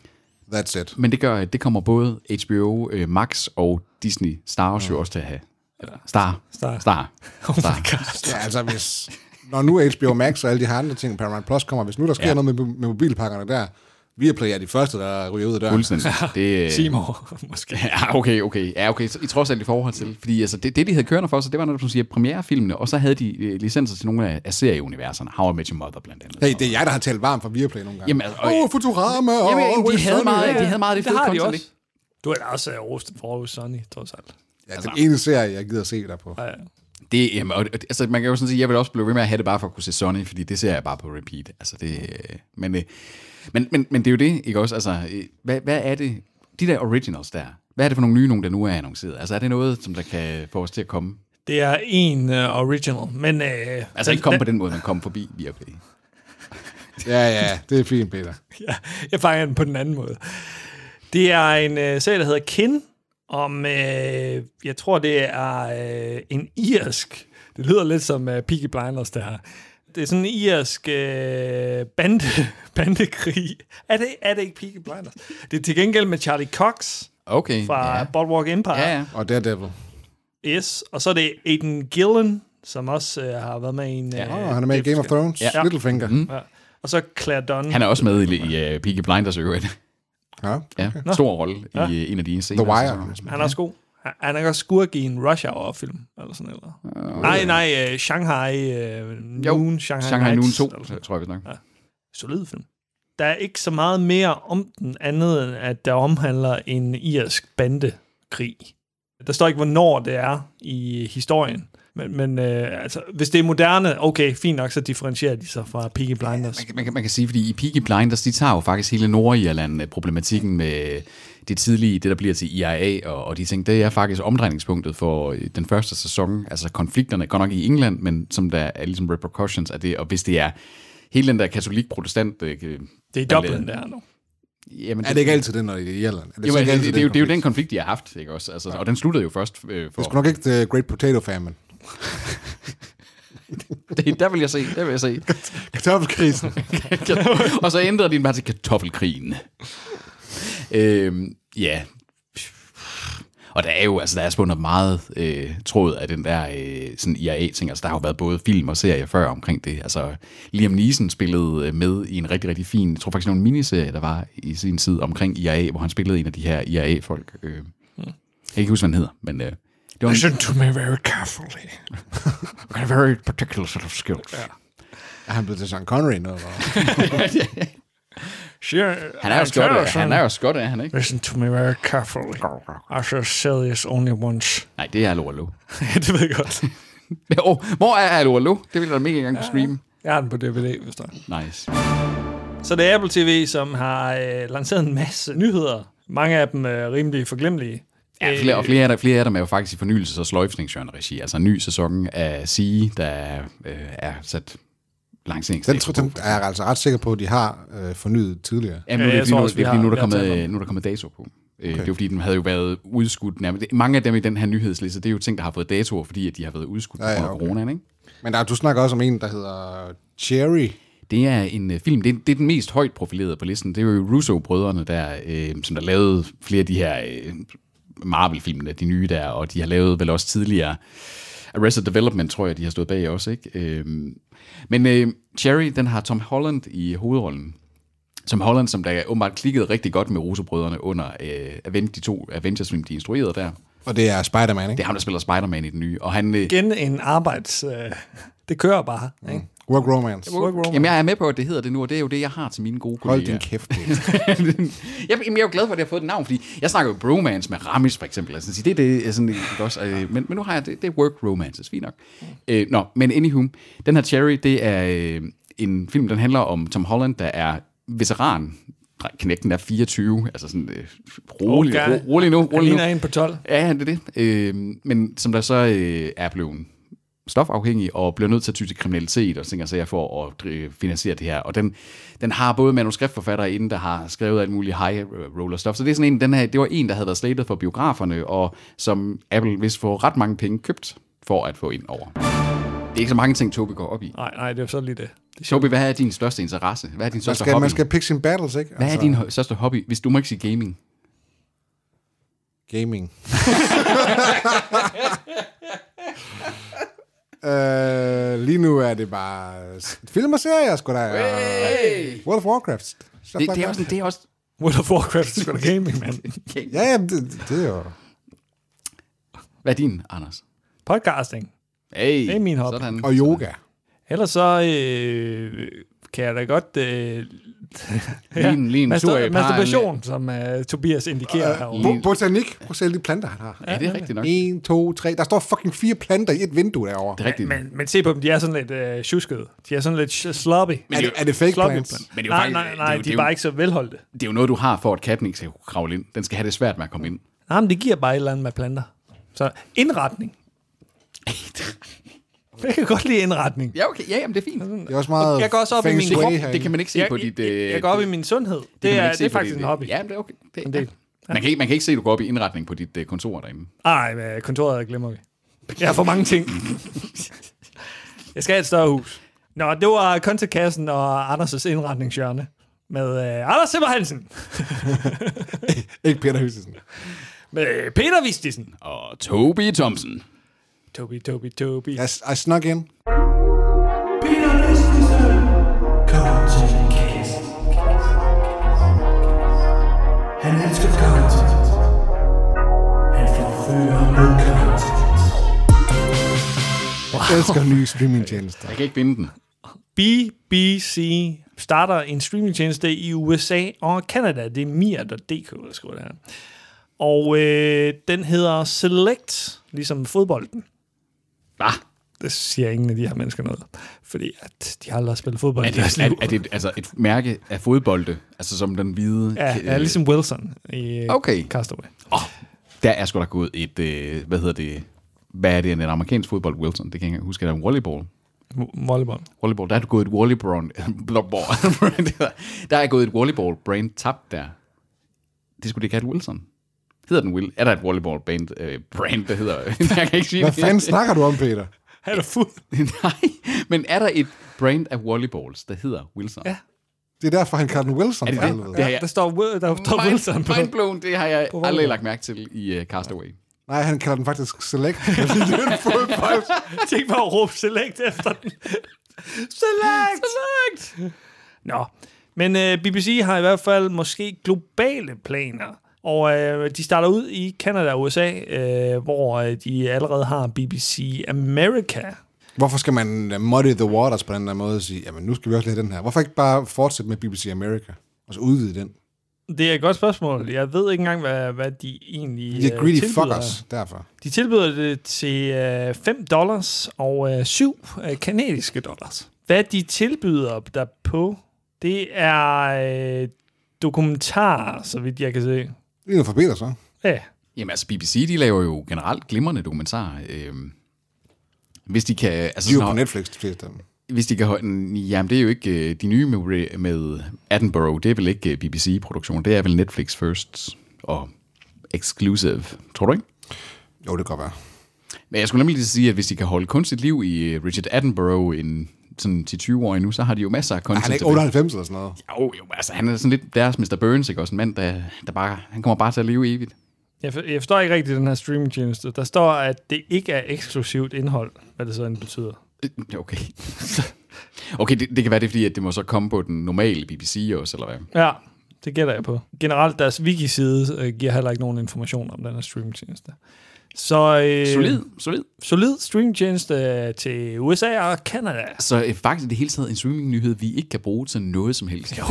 Speaker 3: That's it.
Speaker 2: Men det gør, at det kommer både HBO øh, Max og Disney Stars jo også til at have. Eller Star.
Speaker 1: Star.
Speaker 2: Star.
Speaker 1: Oh <laughs>
Speaker 2: Star.
Speaker 1: my god.
Speaker 3: Ja, altså hvis... Når nu HBO Max og alle de her andre ting, Paramount Plus kommer, hvis nu der sker
Speaker 2: Ja.
Speaker 3: ja. noget med, med mobilpakkerne der, Viaplay er de første, der ryger ud af døren.
Speaker 2: Fuldstændig. Det, øh,
Speaker 1: Seymour, måske.
Speaker 2: Ja, okay, okay. Ja, okay. Så, I trods alt i forhold til. Fordi altså, det, det, de havde kørende for sig, det var netop, som siger, premierefilmene, og så havde de øh, licenser til nogle af, af serieuniverserne. How I Met Your Mother, blandt andet.
Speaker 3: Hey, det er jeg, der har talt varmt for Viaplay nogle gange.
Speaker 2: Jamen, altså, og-
Speaker 3: Åh, oh, Futurama og
Speaker 2: Jamen, de
Speaker 3: Always
Speaker 2: havde
Speaker 3: Sunny.
Speaker 2: meget- de havde meget af det
Speaker 1: det
Speaker 2: fede
Speaker 1: har de
Speaker 2: content,
Speaker 1: også. Du er da også uh, Rosten for Aarhus Sunny, trods alt.
Speaker 3: Ja, den ene serie, jeg gider se der på.
Speaker 1: Ja, ja.
Speaker 2: Det, jamen, og, og- altså, man kan jo sådan sige, jeg vil også blive ved med at have det bare for at kunne se Sony, fordi det ser jeg bare på repeat. Altså, det, øh, men, øh, men, men, men det er jo det, ikke også? Altså, øh, hvad, hvad er det? De der originals der, hvad er det for nogle nye nogen, der nu er annonceret? Altså, er det noget, som der kan få os til at komme?
Speaker 1: Det er en uh, original, men... Uh,
Speaker 2: Altså, ikke komme på den måde, man kommer forbi Viaplay.
Speaker 3: Ja, ja, det er fint, Peter.
Speaker 1: Ja, jeg fanger den på den anden måde. Det er en øh, serie, der hedder Kin, om, øh, jeg tror, det er øh, en irsk, det lyder lidt som øh, Peaky Blinders, det her. Det er sådan en irsk øh, bande, <laughs> bandekrig. Er det, er det ikke Peaky Blinders? Det er til gengæld med Charlie Cox
Speaker 2: Okay.
Speaker 1: fra
Speaker 2: ja.
Speaker 1: ja. Boardwalk Empire.
Speaker 2: Ja, ja.
Speaker 3: Og Daredevil.
Speaker 1: Yes, og så er det Aiden Gillen, som også øh, har været med i en...
Speaker 2: Ja.
Speaker 3: Åh, oh, han er med i Game of Thrones.
Speaker 1: Ja.
Speaker 3: Ja. Littlefinger. Mm.
Speaker 1: Ja. Og så Claire Dunn.
Speaker 2: Han er også med i, i uh, Peaky Blinders i øvrigt.
Speaker 3: Ja.
Speaker 2: Ja, stor rolle ja. i uh, en af de senere.
Speaker 3: The Wire.
Speaker 2: sæsoner.
Speaker 1: Han er også god. Han- Han er også skurk i en Rush Hour-film, eller sådan noget.
Speaker 3: Øh,
Speaker 1: nej, nej, uh, Shanghai uh,
Speaker 2: Jo,
Speaker 1: Noon, Shanghai,
Speaker 2: Shanghai Noon
Speaker 1: Nights,
Speaker 2: 2,
Speaker 1: eller sådan noget.
Speaker 2: tror jeg, vi snakker.
Speaker 1: Solid film. Der er ikke så meget mere om den andet, end at der omhandler en irsk bandekrig. Der står ikke, hvornår det er i historien. Men, men øh, altså, hvis det er moderne, okay, fint nok, så differentierer de sig fra Peaky Blinders.
Speaker 2: Man kan, man, kan, man kan sige, fordi i Peaky Blinders, de tager jo faktisk hele Nordirland-problematikken med det tidlige, det der bliver til IRA, og, og de ting, det er faktisk omdrejningspunktet for øh, den første sæson, altså konflikterne, godt nok i England, men som der er ligesom repercussions af det, og hvis det er hele den der katolik-protestant... Øh,
Speaker 1: Det er i Dublin, der er nu.
Speaker 2: Jamen,
Speaker 3: Er det ikke altid den, når det er i Irland? Er det,
Speaker 2: Jo,
Speaker 3: så
Speaker 2: men
Speaker 3: ikke
Speaker 2: det,
Speaker 3: altid
Speaker 2: det, det, er jo, det er jo den
Speaker 3: konflikt?
Speaker 2: konflikt, de har haft, ikke også? Altså, Og den sluttede jo først øh, for...
Speaker 3: Det skulle nok ikke The Great Potato Famine.
Speaker 2: <laughs> Det, der vil jeg se, der vil jeg <laughs> se.
Speaker 3: Kartoffelkrisen.
Speaker 2: <laughs> og så ændrede de den bare til kartoffelkrigen. øhm, ja. Og der er jo, altså der er spundet meget øh, tråd af den der øh, sådan IRA-ting. Altså der har jo været både film og serier før omkring det. Altså Liam Neeson spillede øh, med i en rigtig, rigtig fin, jeg tror faktisk nogle miniserie, der var i sin tid omkring IRA, hvor han spillede en af de her IRA-folk. Øh. Jeg kan ikke huske, hvad han hedder, men øh, det var en
Speaker 1: Listen to me very carefully.
Speaker 2: a very particular set of skills.
Speaker 3: er han blevet til Sean Connery
Speaker 2: <laughs>
Speaker 3: nu? Eller? hvad?
Speaker 1: Sure,
Speaker 2: Han er jo skot, øh, han er jo skot, er han ikke?
Speaker 1: Listen to me very carefully. I shall say this only once. <laughs>
Speaker 2: Nej, <laughs> det er Lolo.
Speaker 1: det ved jeg godt.
Speaker 2: Åh, hvor er Hallo Hallo? Det vil jeg da mega gerne kunne streame.
Speaker 1: Jeg har den på DVD, hvis der.
Speaker 2: Nice.
Speaker 1: Så det er Apple TV, som har øh, lanceret en masse nyheder. Mange af dem er rimelig forglemmelige.
Speaker 2: Ja, flere,
Speaker 1: øh,
Speaker 2: og flere af, dem, flere af dem er jo faktisk i fornyelses- og sløjfningsgenregi, altså en ny sæson af Sige, der øh, er sat
Speaker 3: Den,
Speaker 2: langsindings.
Speaker 3: tror- den er jeg altså ret sikker på, at de har øh, fornyet tidligere.
Speaker 2: Ja, men nu,
Speaker 1: Ja,
Speaker 2: er
Speaker 1: jeg
Speaker 2: det,
Speaker 1: tror
Speaker 2: fordi, nu,
Speaker 1: også,
Speaker 2: det er,
Speaker 1: vi
Speaker 2: fordi, nu, er der
Speaker 1: har- vi har
Speaker 2: kommet,
Speaker 1: talt om
Speaker 2: øh, nu er der kommet dato på. Okay. Det er jo fordi, den havde jo været udskudt nærmest. Mange af dem i den her nyhedsliste, det er jo ting, der har fået datoer, fordi at de har været udskudt ja,
Speaker 3: ja,
Speaker 2: ja, under
Speaker 3: okay.
Speaker 2: coronaen, ikke?
Speaker 3: Men der, du snakker også om en, der hedder Cherry.
Speaker 2: Det er en øh, film, det, det er den mest højt profilerede på listen. Det er jo Russo-brødrene, der, øh, som der lavede flere af de her øh, Marvel-filmene, de nye der, og de har lavet vel også tidligere Arrested Development, tror jeg, de har stået bag også, ikke? Øh, men øh, Cherry, den har Tom Holland i hovedrollen. Som Holland, som der åbenbart klikkede rigtig godt med Russo-brødrene under øh, Aven- de to Avengers-film, de instruerede der.
Speaker 3: Og det er Spider-Man,
Speaker 2: Det
Speaker 3: ikke?
Speaker 2: er ham, der spiller Spider-Man i den nye, og han... Øh,
Speaker 1: Igen en arbejds... Øh, det kører bare, ikke?
Speaker 2: Mm.
Speaker 3: Work Romance.
Speaker 1: Work room.
Speaker 2: Jamen, jeg er med på, at det hedder det nu, og det er jo det, jeg har til mine gode kolleger.
Speaker 3: Hold din kæft.
Speaker 2: <laughs>
Speaker 3: Niels.
Speaker 2: jeg, jamen, jeg er jo glad for, at jeg har fået et navn, fordi jeg snakker jo bromance med Ramis, for eksempel. Altså, det er det, jeg sådan, ikke også, øh, men, men nu har jeg det, det er work romances, fint nok. Øh, nå, men anywho, den her Cherry, det er øh, en film, den handler om Tom Holland, der er veteran. Dreng- Knægten er 24, altså sådan øh, rolig,
Speaker 1: Okay.
Speaker 2: ro, rolig nu,
Speaker 1: Han
Speaker 2: rolig nu.
Speaker 1: ligner en på 12.
Speaker 2: Ja, ja, det er det. Øh, men som der så øh, er blevet stofafhængig og bliver nødt til at ty til kriminalitet og ting og sager for at øh, finansiere det her. Og den, den har både manuskriptforfattere inden, der har skrevet alt muligt high øh, roller stuff. Så det er sådan en, den her, det var en, der havde været slatet for biograferne, og som Apple vist får ret mange penge købt for at få ind over. Det er ikke så mange ting, Tobi går op i.
Speaker 1: Nej, nej, det er jo så lige det. det
Speaker 2: Tobi, hvad er din største interesse? Hvad er din
Speaker 3: Man
Speaker 2: største
Speaker 3: skal,
Speaker 2: hobby?
Speaker 3: man skal pick sine battles, ikke? Altså,
Speaker 2: Hvad er din hø- største hobby, hvis du må ikke sige gaming? <laughs>
Speaker 3: Gaming. øh, lige nu er det bare film og serier, sgu da. Hey! World of Warcraft. Stuff
Speaker 2: Det, det,
Speaker 3: like
Speaker 2: er,
Speaker 3: that.
Speaker 2: også, sådan- det er også...
Speaker 1: World of Warcraft er sgu da gaming,
Speaker 2: <laughs>
Speaker 1: mand.
Speaker 3: Ja, ja, det, det er jo...
Speaker 2: Hvad er din, Anders?
Speaker 1: Podcasting.
Speaker 2: Hey,
Speaker 1: Det er min hobby.
Speaker 2: Sådan.
Speaker 3: Og yoga.
Speaker 1: Ellers så øh, kan jeg da godt... Øh,
Speaker 2: <laughs> Lige en- lige en tur i
Speaker 1: mastur-
Speaker 2: parken. Ah,
Speaker 1: masturbation, som øh, Tobias indikerer herovre.
Speaker 3: Bo- botanik. Prøv at se alle de planter, han har.
Speaker 2: Ja, det er rigtigt nok. Det
Speaker 3: 1, 2, 3. Der står fucking fire planter i et vindue derovre.
Speaker 2: er rigtigt.
Speaker 1: Men, men se på dem, de er sådan lidt øh, tjuskede. De er sådan lidt sh- sloppy.
Speaker 3: Er det, er det fake
Speaker 1: Sloppy
Speaker 3: plants?
Speaker 1: plants.
Speaker 2: Men det er jo
Speaker 1: Nej,
Speaker 2: faktisk-
Speaker 1: nej,
Speaker 2: det
Speaker 1: nej,
Speaker 2: er jo-
Speaker 1: de
Speaker 2: det
Speaker 1: er
Speaker 2: er
Speaker 1: bare
Speaker 2: jo-
Speaker 1: ikke så velholdt.
Speaker 2: Det er jo noget, du har for, at katten ikke skal kunne kravle ind. Den skal have det svært med at komme ind.
Speaker 1: Nej, men det giver bare et eller andet med planter. Så
Speaker 2: <laughs>
Speaker 1: indretning. Jeg kan godt lide indretning.
Speaker 2: Ja, okay. Ja, jamen, det er fint.
Speaker 3: Det er også meget
Speaker 1: Jeg går også op i
Speaker 3: feng
Speaker 1: min
Speaker 3: shui
Speaker 1: krop.
Speaker 3: herinde.
Speaker 2: Det kan man ikke se
Speaker 1: Jeg,
Speaker 2: på dit...
Speaker 1: jeg,
Speaker 2: øh,
Speaker 1: jeg går op i min sundhed. Det,
Speaker 2: kan man
Speaker 1: er,
Speaker 2: ikke se
Speaker 1: det er
Speaker 2: på
Speaker 1: faktisk
Speaker 2: dit,
Speaker 1: en
Speaker 2: øh,
Speaker 1: hobby.
Speaker 2: Ja, men det er okay. Det,
Speaker 1: En
Speaker 2: ja.
Speaker 1: del.
Speaker 2: Man, kan ikke, man kan ikke se, at du går op i indretning på dit øh, kontor derinde.
Speaker 1: Nej, men øh, kontoret glemmer vi. Jeg har for mange ting. <laughs> jeg skal have et større hus. Nå, det var kontekassen og Anders' indretningshjørne med øh, Anders Simmer
Speaker 3: <laughs>
Speaker 1: Hansen,
Speaker 3: Ikke Peter Høsesen.
Speaker 1: med Peter Vistisen.
Speaker 2: Og Toby Thompson.
Speaker 1: Tobi, Tobi, Tobi.
Speaker 3: I, I snuck in.
Speaker 4: Peter Christensen, Content Han elsker content. Han forfører med content.
Speaker 3: Jeg elsker nye streamingtjenester.
Speaker 2: Jeg kan ikke binde den.
Speaker 1: BBC starter en streamingtjeneste i USA og Canada. Det er mir.dk, der skriver det her. Og øh, den hedder Select, ligesom fodbolden.
Speaker 2: Hvad?
Speaker 1: Det siger ingen af de her mennesker noget, fordi at de har aldrig spillet fodbold.
Speaker 2: Er
Speaker 1: i
Speaker 2: det,
Speaker 1: deres
Speaker 2: er,
Speaker 1: liv.
Speaker 2: er det altså et mærke af fodbolde? Altså som den hvide...
Speaker 1: Ja,
Speaker 2: øh,
Speaker 1: ja, ligesom Wilson i okay.
Speaker 2: Okay.
Speaker 1: Castaway.
Speaker 2: Der er sgu da gået et... øh, Hvad hedder det? Hvad er det? En amerikansk fodbold, Wilson? Det kan jeg ikke engang huske. Er der en volleyball?
Speaker 1: Vo- Volleyball.
Speaker 2: Volleyball, der er gået et volleyball, volleyball <laughs> der er gået et volleyball brand tabt der. Det skulle det ikke have et Wilson. Hedder den Will? Er der et volleyball band, øh, brand, der hedder... <laughs> jeg kan ikke sige
Speaker 3: Hvad
Speaker 2: det.
Speaker 3: fanden snakker du om, Peter?
Speaker 1: Han er fuld.
Speaker 2: <laughs> Nej, men er der et brand af volleyballs, der hedder Wilson?
Speaker 1: Ja.
Speaker 3: Det er derfor, han kalder den Wilson.
Speaker 2: Er det
Speaker 3: for
Speaker 2: det?
Speaker 3: helvede.
Speaker 2: Ja,
Speaker 1: Ja,
Speaker 2: ja.
Speaker 1: der står, Wi- der står Wilson på.
Speaker 2: Mind blown, det har jeg aldrig
Speaker 1: volleyball.
Speaker 2: lagt mærke til i uh, Castaway.
Speaker 3: Nej, han kalder den faktisk Select. fordi det er en fodbold.
Speaker 1: Tænk bare <laughs> at råbe select efter den. select! select! Nå, men øh, BBC har i hvert fald måske globale planer. Og øh, de starter ud i Canada og USA, øh, hvor øh, de allerede har BBC America.
Speaker 3: Hvorfor skal man øh, muddy the waters på den der måde og sige, jamen nu skal vi også lige have den her. Hvorfor ikke bare fortsætte med BBC America? Og så udvide den.
Speaker 1: Det er et godt spørgsmål. Jeg ved ikke engang, hvad, hvad de egentlig
Speaker 3: De er
Speaker 1: øh,
Speaker 3: greedy
Speaker 1: tilbyder.
Speaker 3: fuckers, derfor.
Speaker 1: De tilbyder det til øh, 5 dollars og øh, 7 øh, kanadiske dollars. Hvad de tilbyder der på, det er øh, dokumentarer, så vidt jeg kan se.
Speaker 3: Det er noget for Peter, så.
Speaker 1: Ja,
Speaker 2: Jamen altså, BBC, de laver jo generelt glimrende dokumentarer. Øhm, hvis de kan... Altså,
Speaker 3: De er jo
Speaker 2: sådan-
Speaker 3: på Netflix, de fleste af dem.
Speaker 2: hvis de kan holde, jamen det er jo ikke øh, de nye med, Ra- med Attenborough, det er vel ikke øh, BBC-produktion, det er vel Netflix First og Exclusive, tror du ikke?
Speaker 3: Jo, det kan godt være.
Speaker 2: Men jeg skulle nemlig lige sige, at hvis de kan holde kunstigt liv i øh, Richard Attenborough en sådan 10-20 år endnu, så har de jo masser af
Speaker 3: Er
Speaker 2: content.
Speaker 3: han ikke
Speaker 2: tilbage.
Speaker 3: 98 Altså, eller sådan noget?
Speaker 2: Jo, jo, altså han er sådan lidt deres Mr. Burns, ikke også? En mand, der, der bare, han kommer bare til at leve evigt.
Speaker 1: Jeg, for, jeg forstår ikke rigtigt den her streamingtjeneste. Der står, at det ikke er eksklusivt indhold, hvad det så end betyder.
Speaker 2: Øh, Okay. <laughs> okay, det, det, kan være, det er fordi, at det må så komme på den normale BBC også, eller hvad?
Speaker 1: Ja, det gætter jeg på. Generelt, deres wiki-side øh, giver heller ikke nogen information om den her streamingtjeneste. Så øh,
Speaker 2: Solid, solid.
Speaker 1: solid streamingtjeneste til USA og Canada.
Speaker 2: Så øh, faktisk er det hele taget en streaming-nyhed, vi ikke kan bruge til noget
Speaker 1: <laughs>
Speaker 2: som helst. Jo,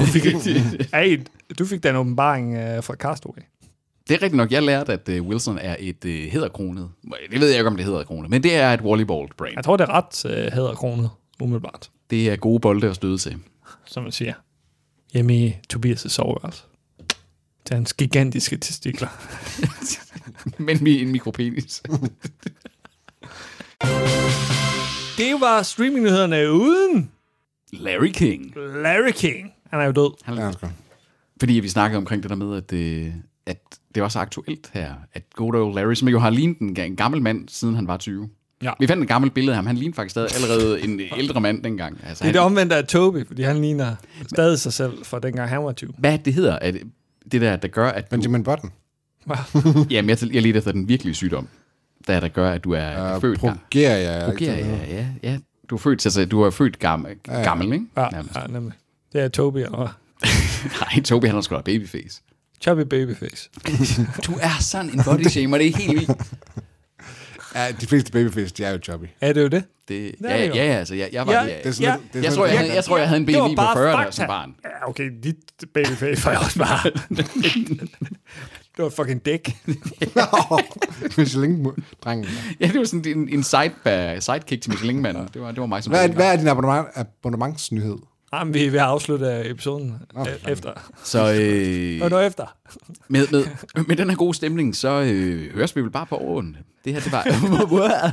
Speaker 1: Hey, du fik den åbenbaring øh, fra Castaway.
Speaker 2: <laughs> det er rigtigt nok. Jeg lærte, at øh, Wilson er et øh, hedderkronet. Det ved jeg ikke, om det hedder kronet, men det er et volleyball-brand.
Speaker 1: Jeg tror, det er ret øh, hæderkronet, umiddelbart,
Speaker 2: Det er gode bolde at støde til. <laughs>
Speaker 1: som man siger. Hjemme i Tobias' soveværelse. Til hans gigantiske testikler.
Speaker 2: men vi en mikropenis.
Speaker 1: Det var streamingnyhederne uden
Speaker 2: Larry King.
Speaker 1: Larry King. Han er jo død.
Speaker 3: Ja, han skal.
Speaker 2: Fordi vi snakkede omkring det der med, at, øh, at det var så aktuelt her, at good old Larry, som jo har lignet en, ga- en gammel mand, siden han var 20.
Speaker 1: Ja.
Speaker 2: Vi fandt et gammelt billede af ham. Han lignede faktisk stadig allerede en ældre mand dengang. Altså,
Speaker 1: Det er
Speaker 2: han,
Speaker 1: det omvendte af Toby, fordi han ligner stadig sig selv fra dengang han var 20.
Speaker 2: hvad er det, det hedder, at det der, der gør, at du
Speaker 3: Benjamin Button.
Speaker 2: Jamen, jeg, jeg leder efter den virkelige sygdom, der, der gør, at du er
Speaker 3: Uh,
Speaker 2: uh, født gammel.
Speaker 3: Progeria. er ikke
Speaker 2: Ja,
Speaker 3: det,
Speaker 2: ja, ja, ja. Du er født, altså, du er født gammel, gammel ikke?
Speaker 1: Ja,
Speaker 2: Nærmest.
Speaker 1: ja nemlig. Det er Toby, eller hvad?
Speaker 2: Nej, Tobi, han har sgu da babyface.
Speaker 1: Chubby babyface.
Speaker 2: Du er sådan en body shamer, det er helt vildt.
Speaker 3: Ja, de fleste babyface, de er jo chubby.
Speaker 1: Er det jo det?
Speaker 2: Det,
Speaker 1: er
Speaker 2: ja,
Speaker 1: det jo.
Speaker 2: ja, altså, jeg, jeg var...
Speaker 1: Ja,
Speaker 2: Ja,
Speaker 3: Det er
Speaker 2: jeg,
Speaker 3: sådan
Speaker 1: Ja.
Speaker 3: lidt, det er
Speaker 2: jeg,
Speaker 3: sådan
Speaker 2: tror,
Speaker 3: lidt-
Speaker 2: jeg, havde- jeg tror, jeg havde en
Speaker 1: Det var
Speaker 2: BMI på
Speaker 1: bare
Speaker 2: 40 der,
Speaker 1: fakta.
Speaker 2: som barn.
Speaker 1: Ja, okay, dit <laughs> babyface var jeg også bare... det var fucking dæk.
Speaker 3: <laughs> Michelin-drengen.
Speaker 2: Ja, det var sådan en, en side, sidekick til Michelin-manden. Det var, det var mig som...
Speaker 3: Hvad er, hvad er din abonnement, abonnementsnyhed?
Speaker 1: Jamen, vi er ved at afslutte episoden øh, efter.
Speaker 2: Så øh,
Speaker 1: Og nu efter.
Speaker 2: med, med, med den her gode stemning, så øh, høres vi vel bare på åren. Det her, det var... <laughs>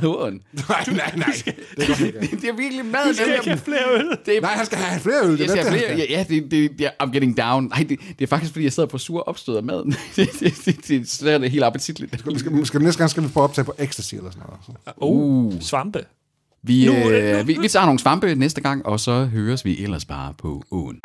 Speaker 2: åren.
Speaker 3: Nej, nej, nej. Det går
Speaker 2: <laughs>
Speaker 3: ikke.
Speaker 2: Det, det er virkelig mad, den
Speaker 1: Jeg
Speaker 2: her
Speaker 1: kan flere øl.
Speaker 2: Det er,
Speaker 3: Nej, han skal have flere øl. Det
Speaker 2: jeg
Speaker 3: er
Speaker 2: skal
Speaker 3: det,
Speaker 2: have
Speaker 3: han
Speaker 2: flere.
Speaker 3: skal.
Speaker 2: Ja, ja det, det, det, I'm getting down. Nej, det, det er faktisk, fordi jeg sidder på sur opstød af maden. <laughs> det, det, det, det, smager det helt appetitligt.
Speaker 3: Skal, skal, næste gang skal vi få optag på ecstasy eller sådan noget. Så.
Speaker 1: Uh. Svampe.
Speaker 2: Vi,
Speaker 1: Nu er det-
Speaker 2: øh, vi, vi tager nogle svampe næste gang, og så høres vi ellers bare på åen.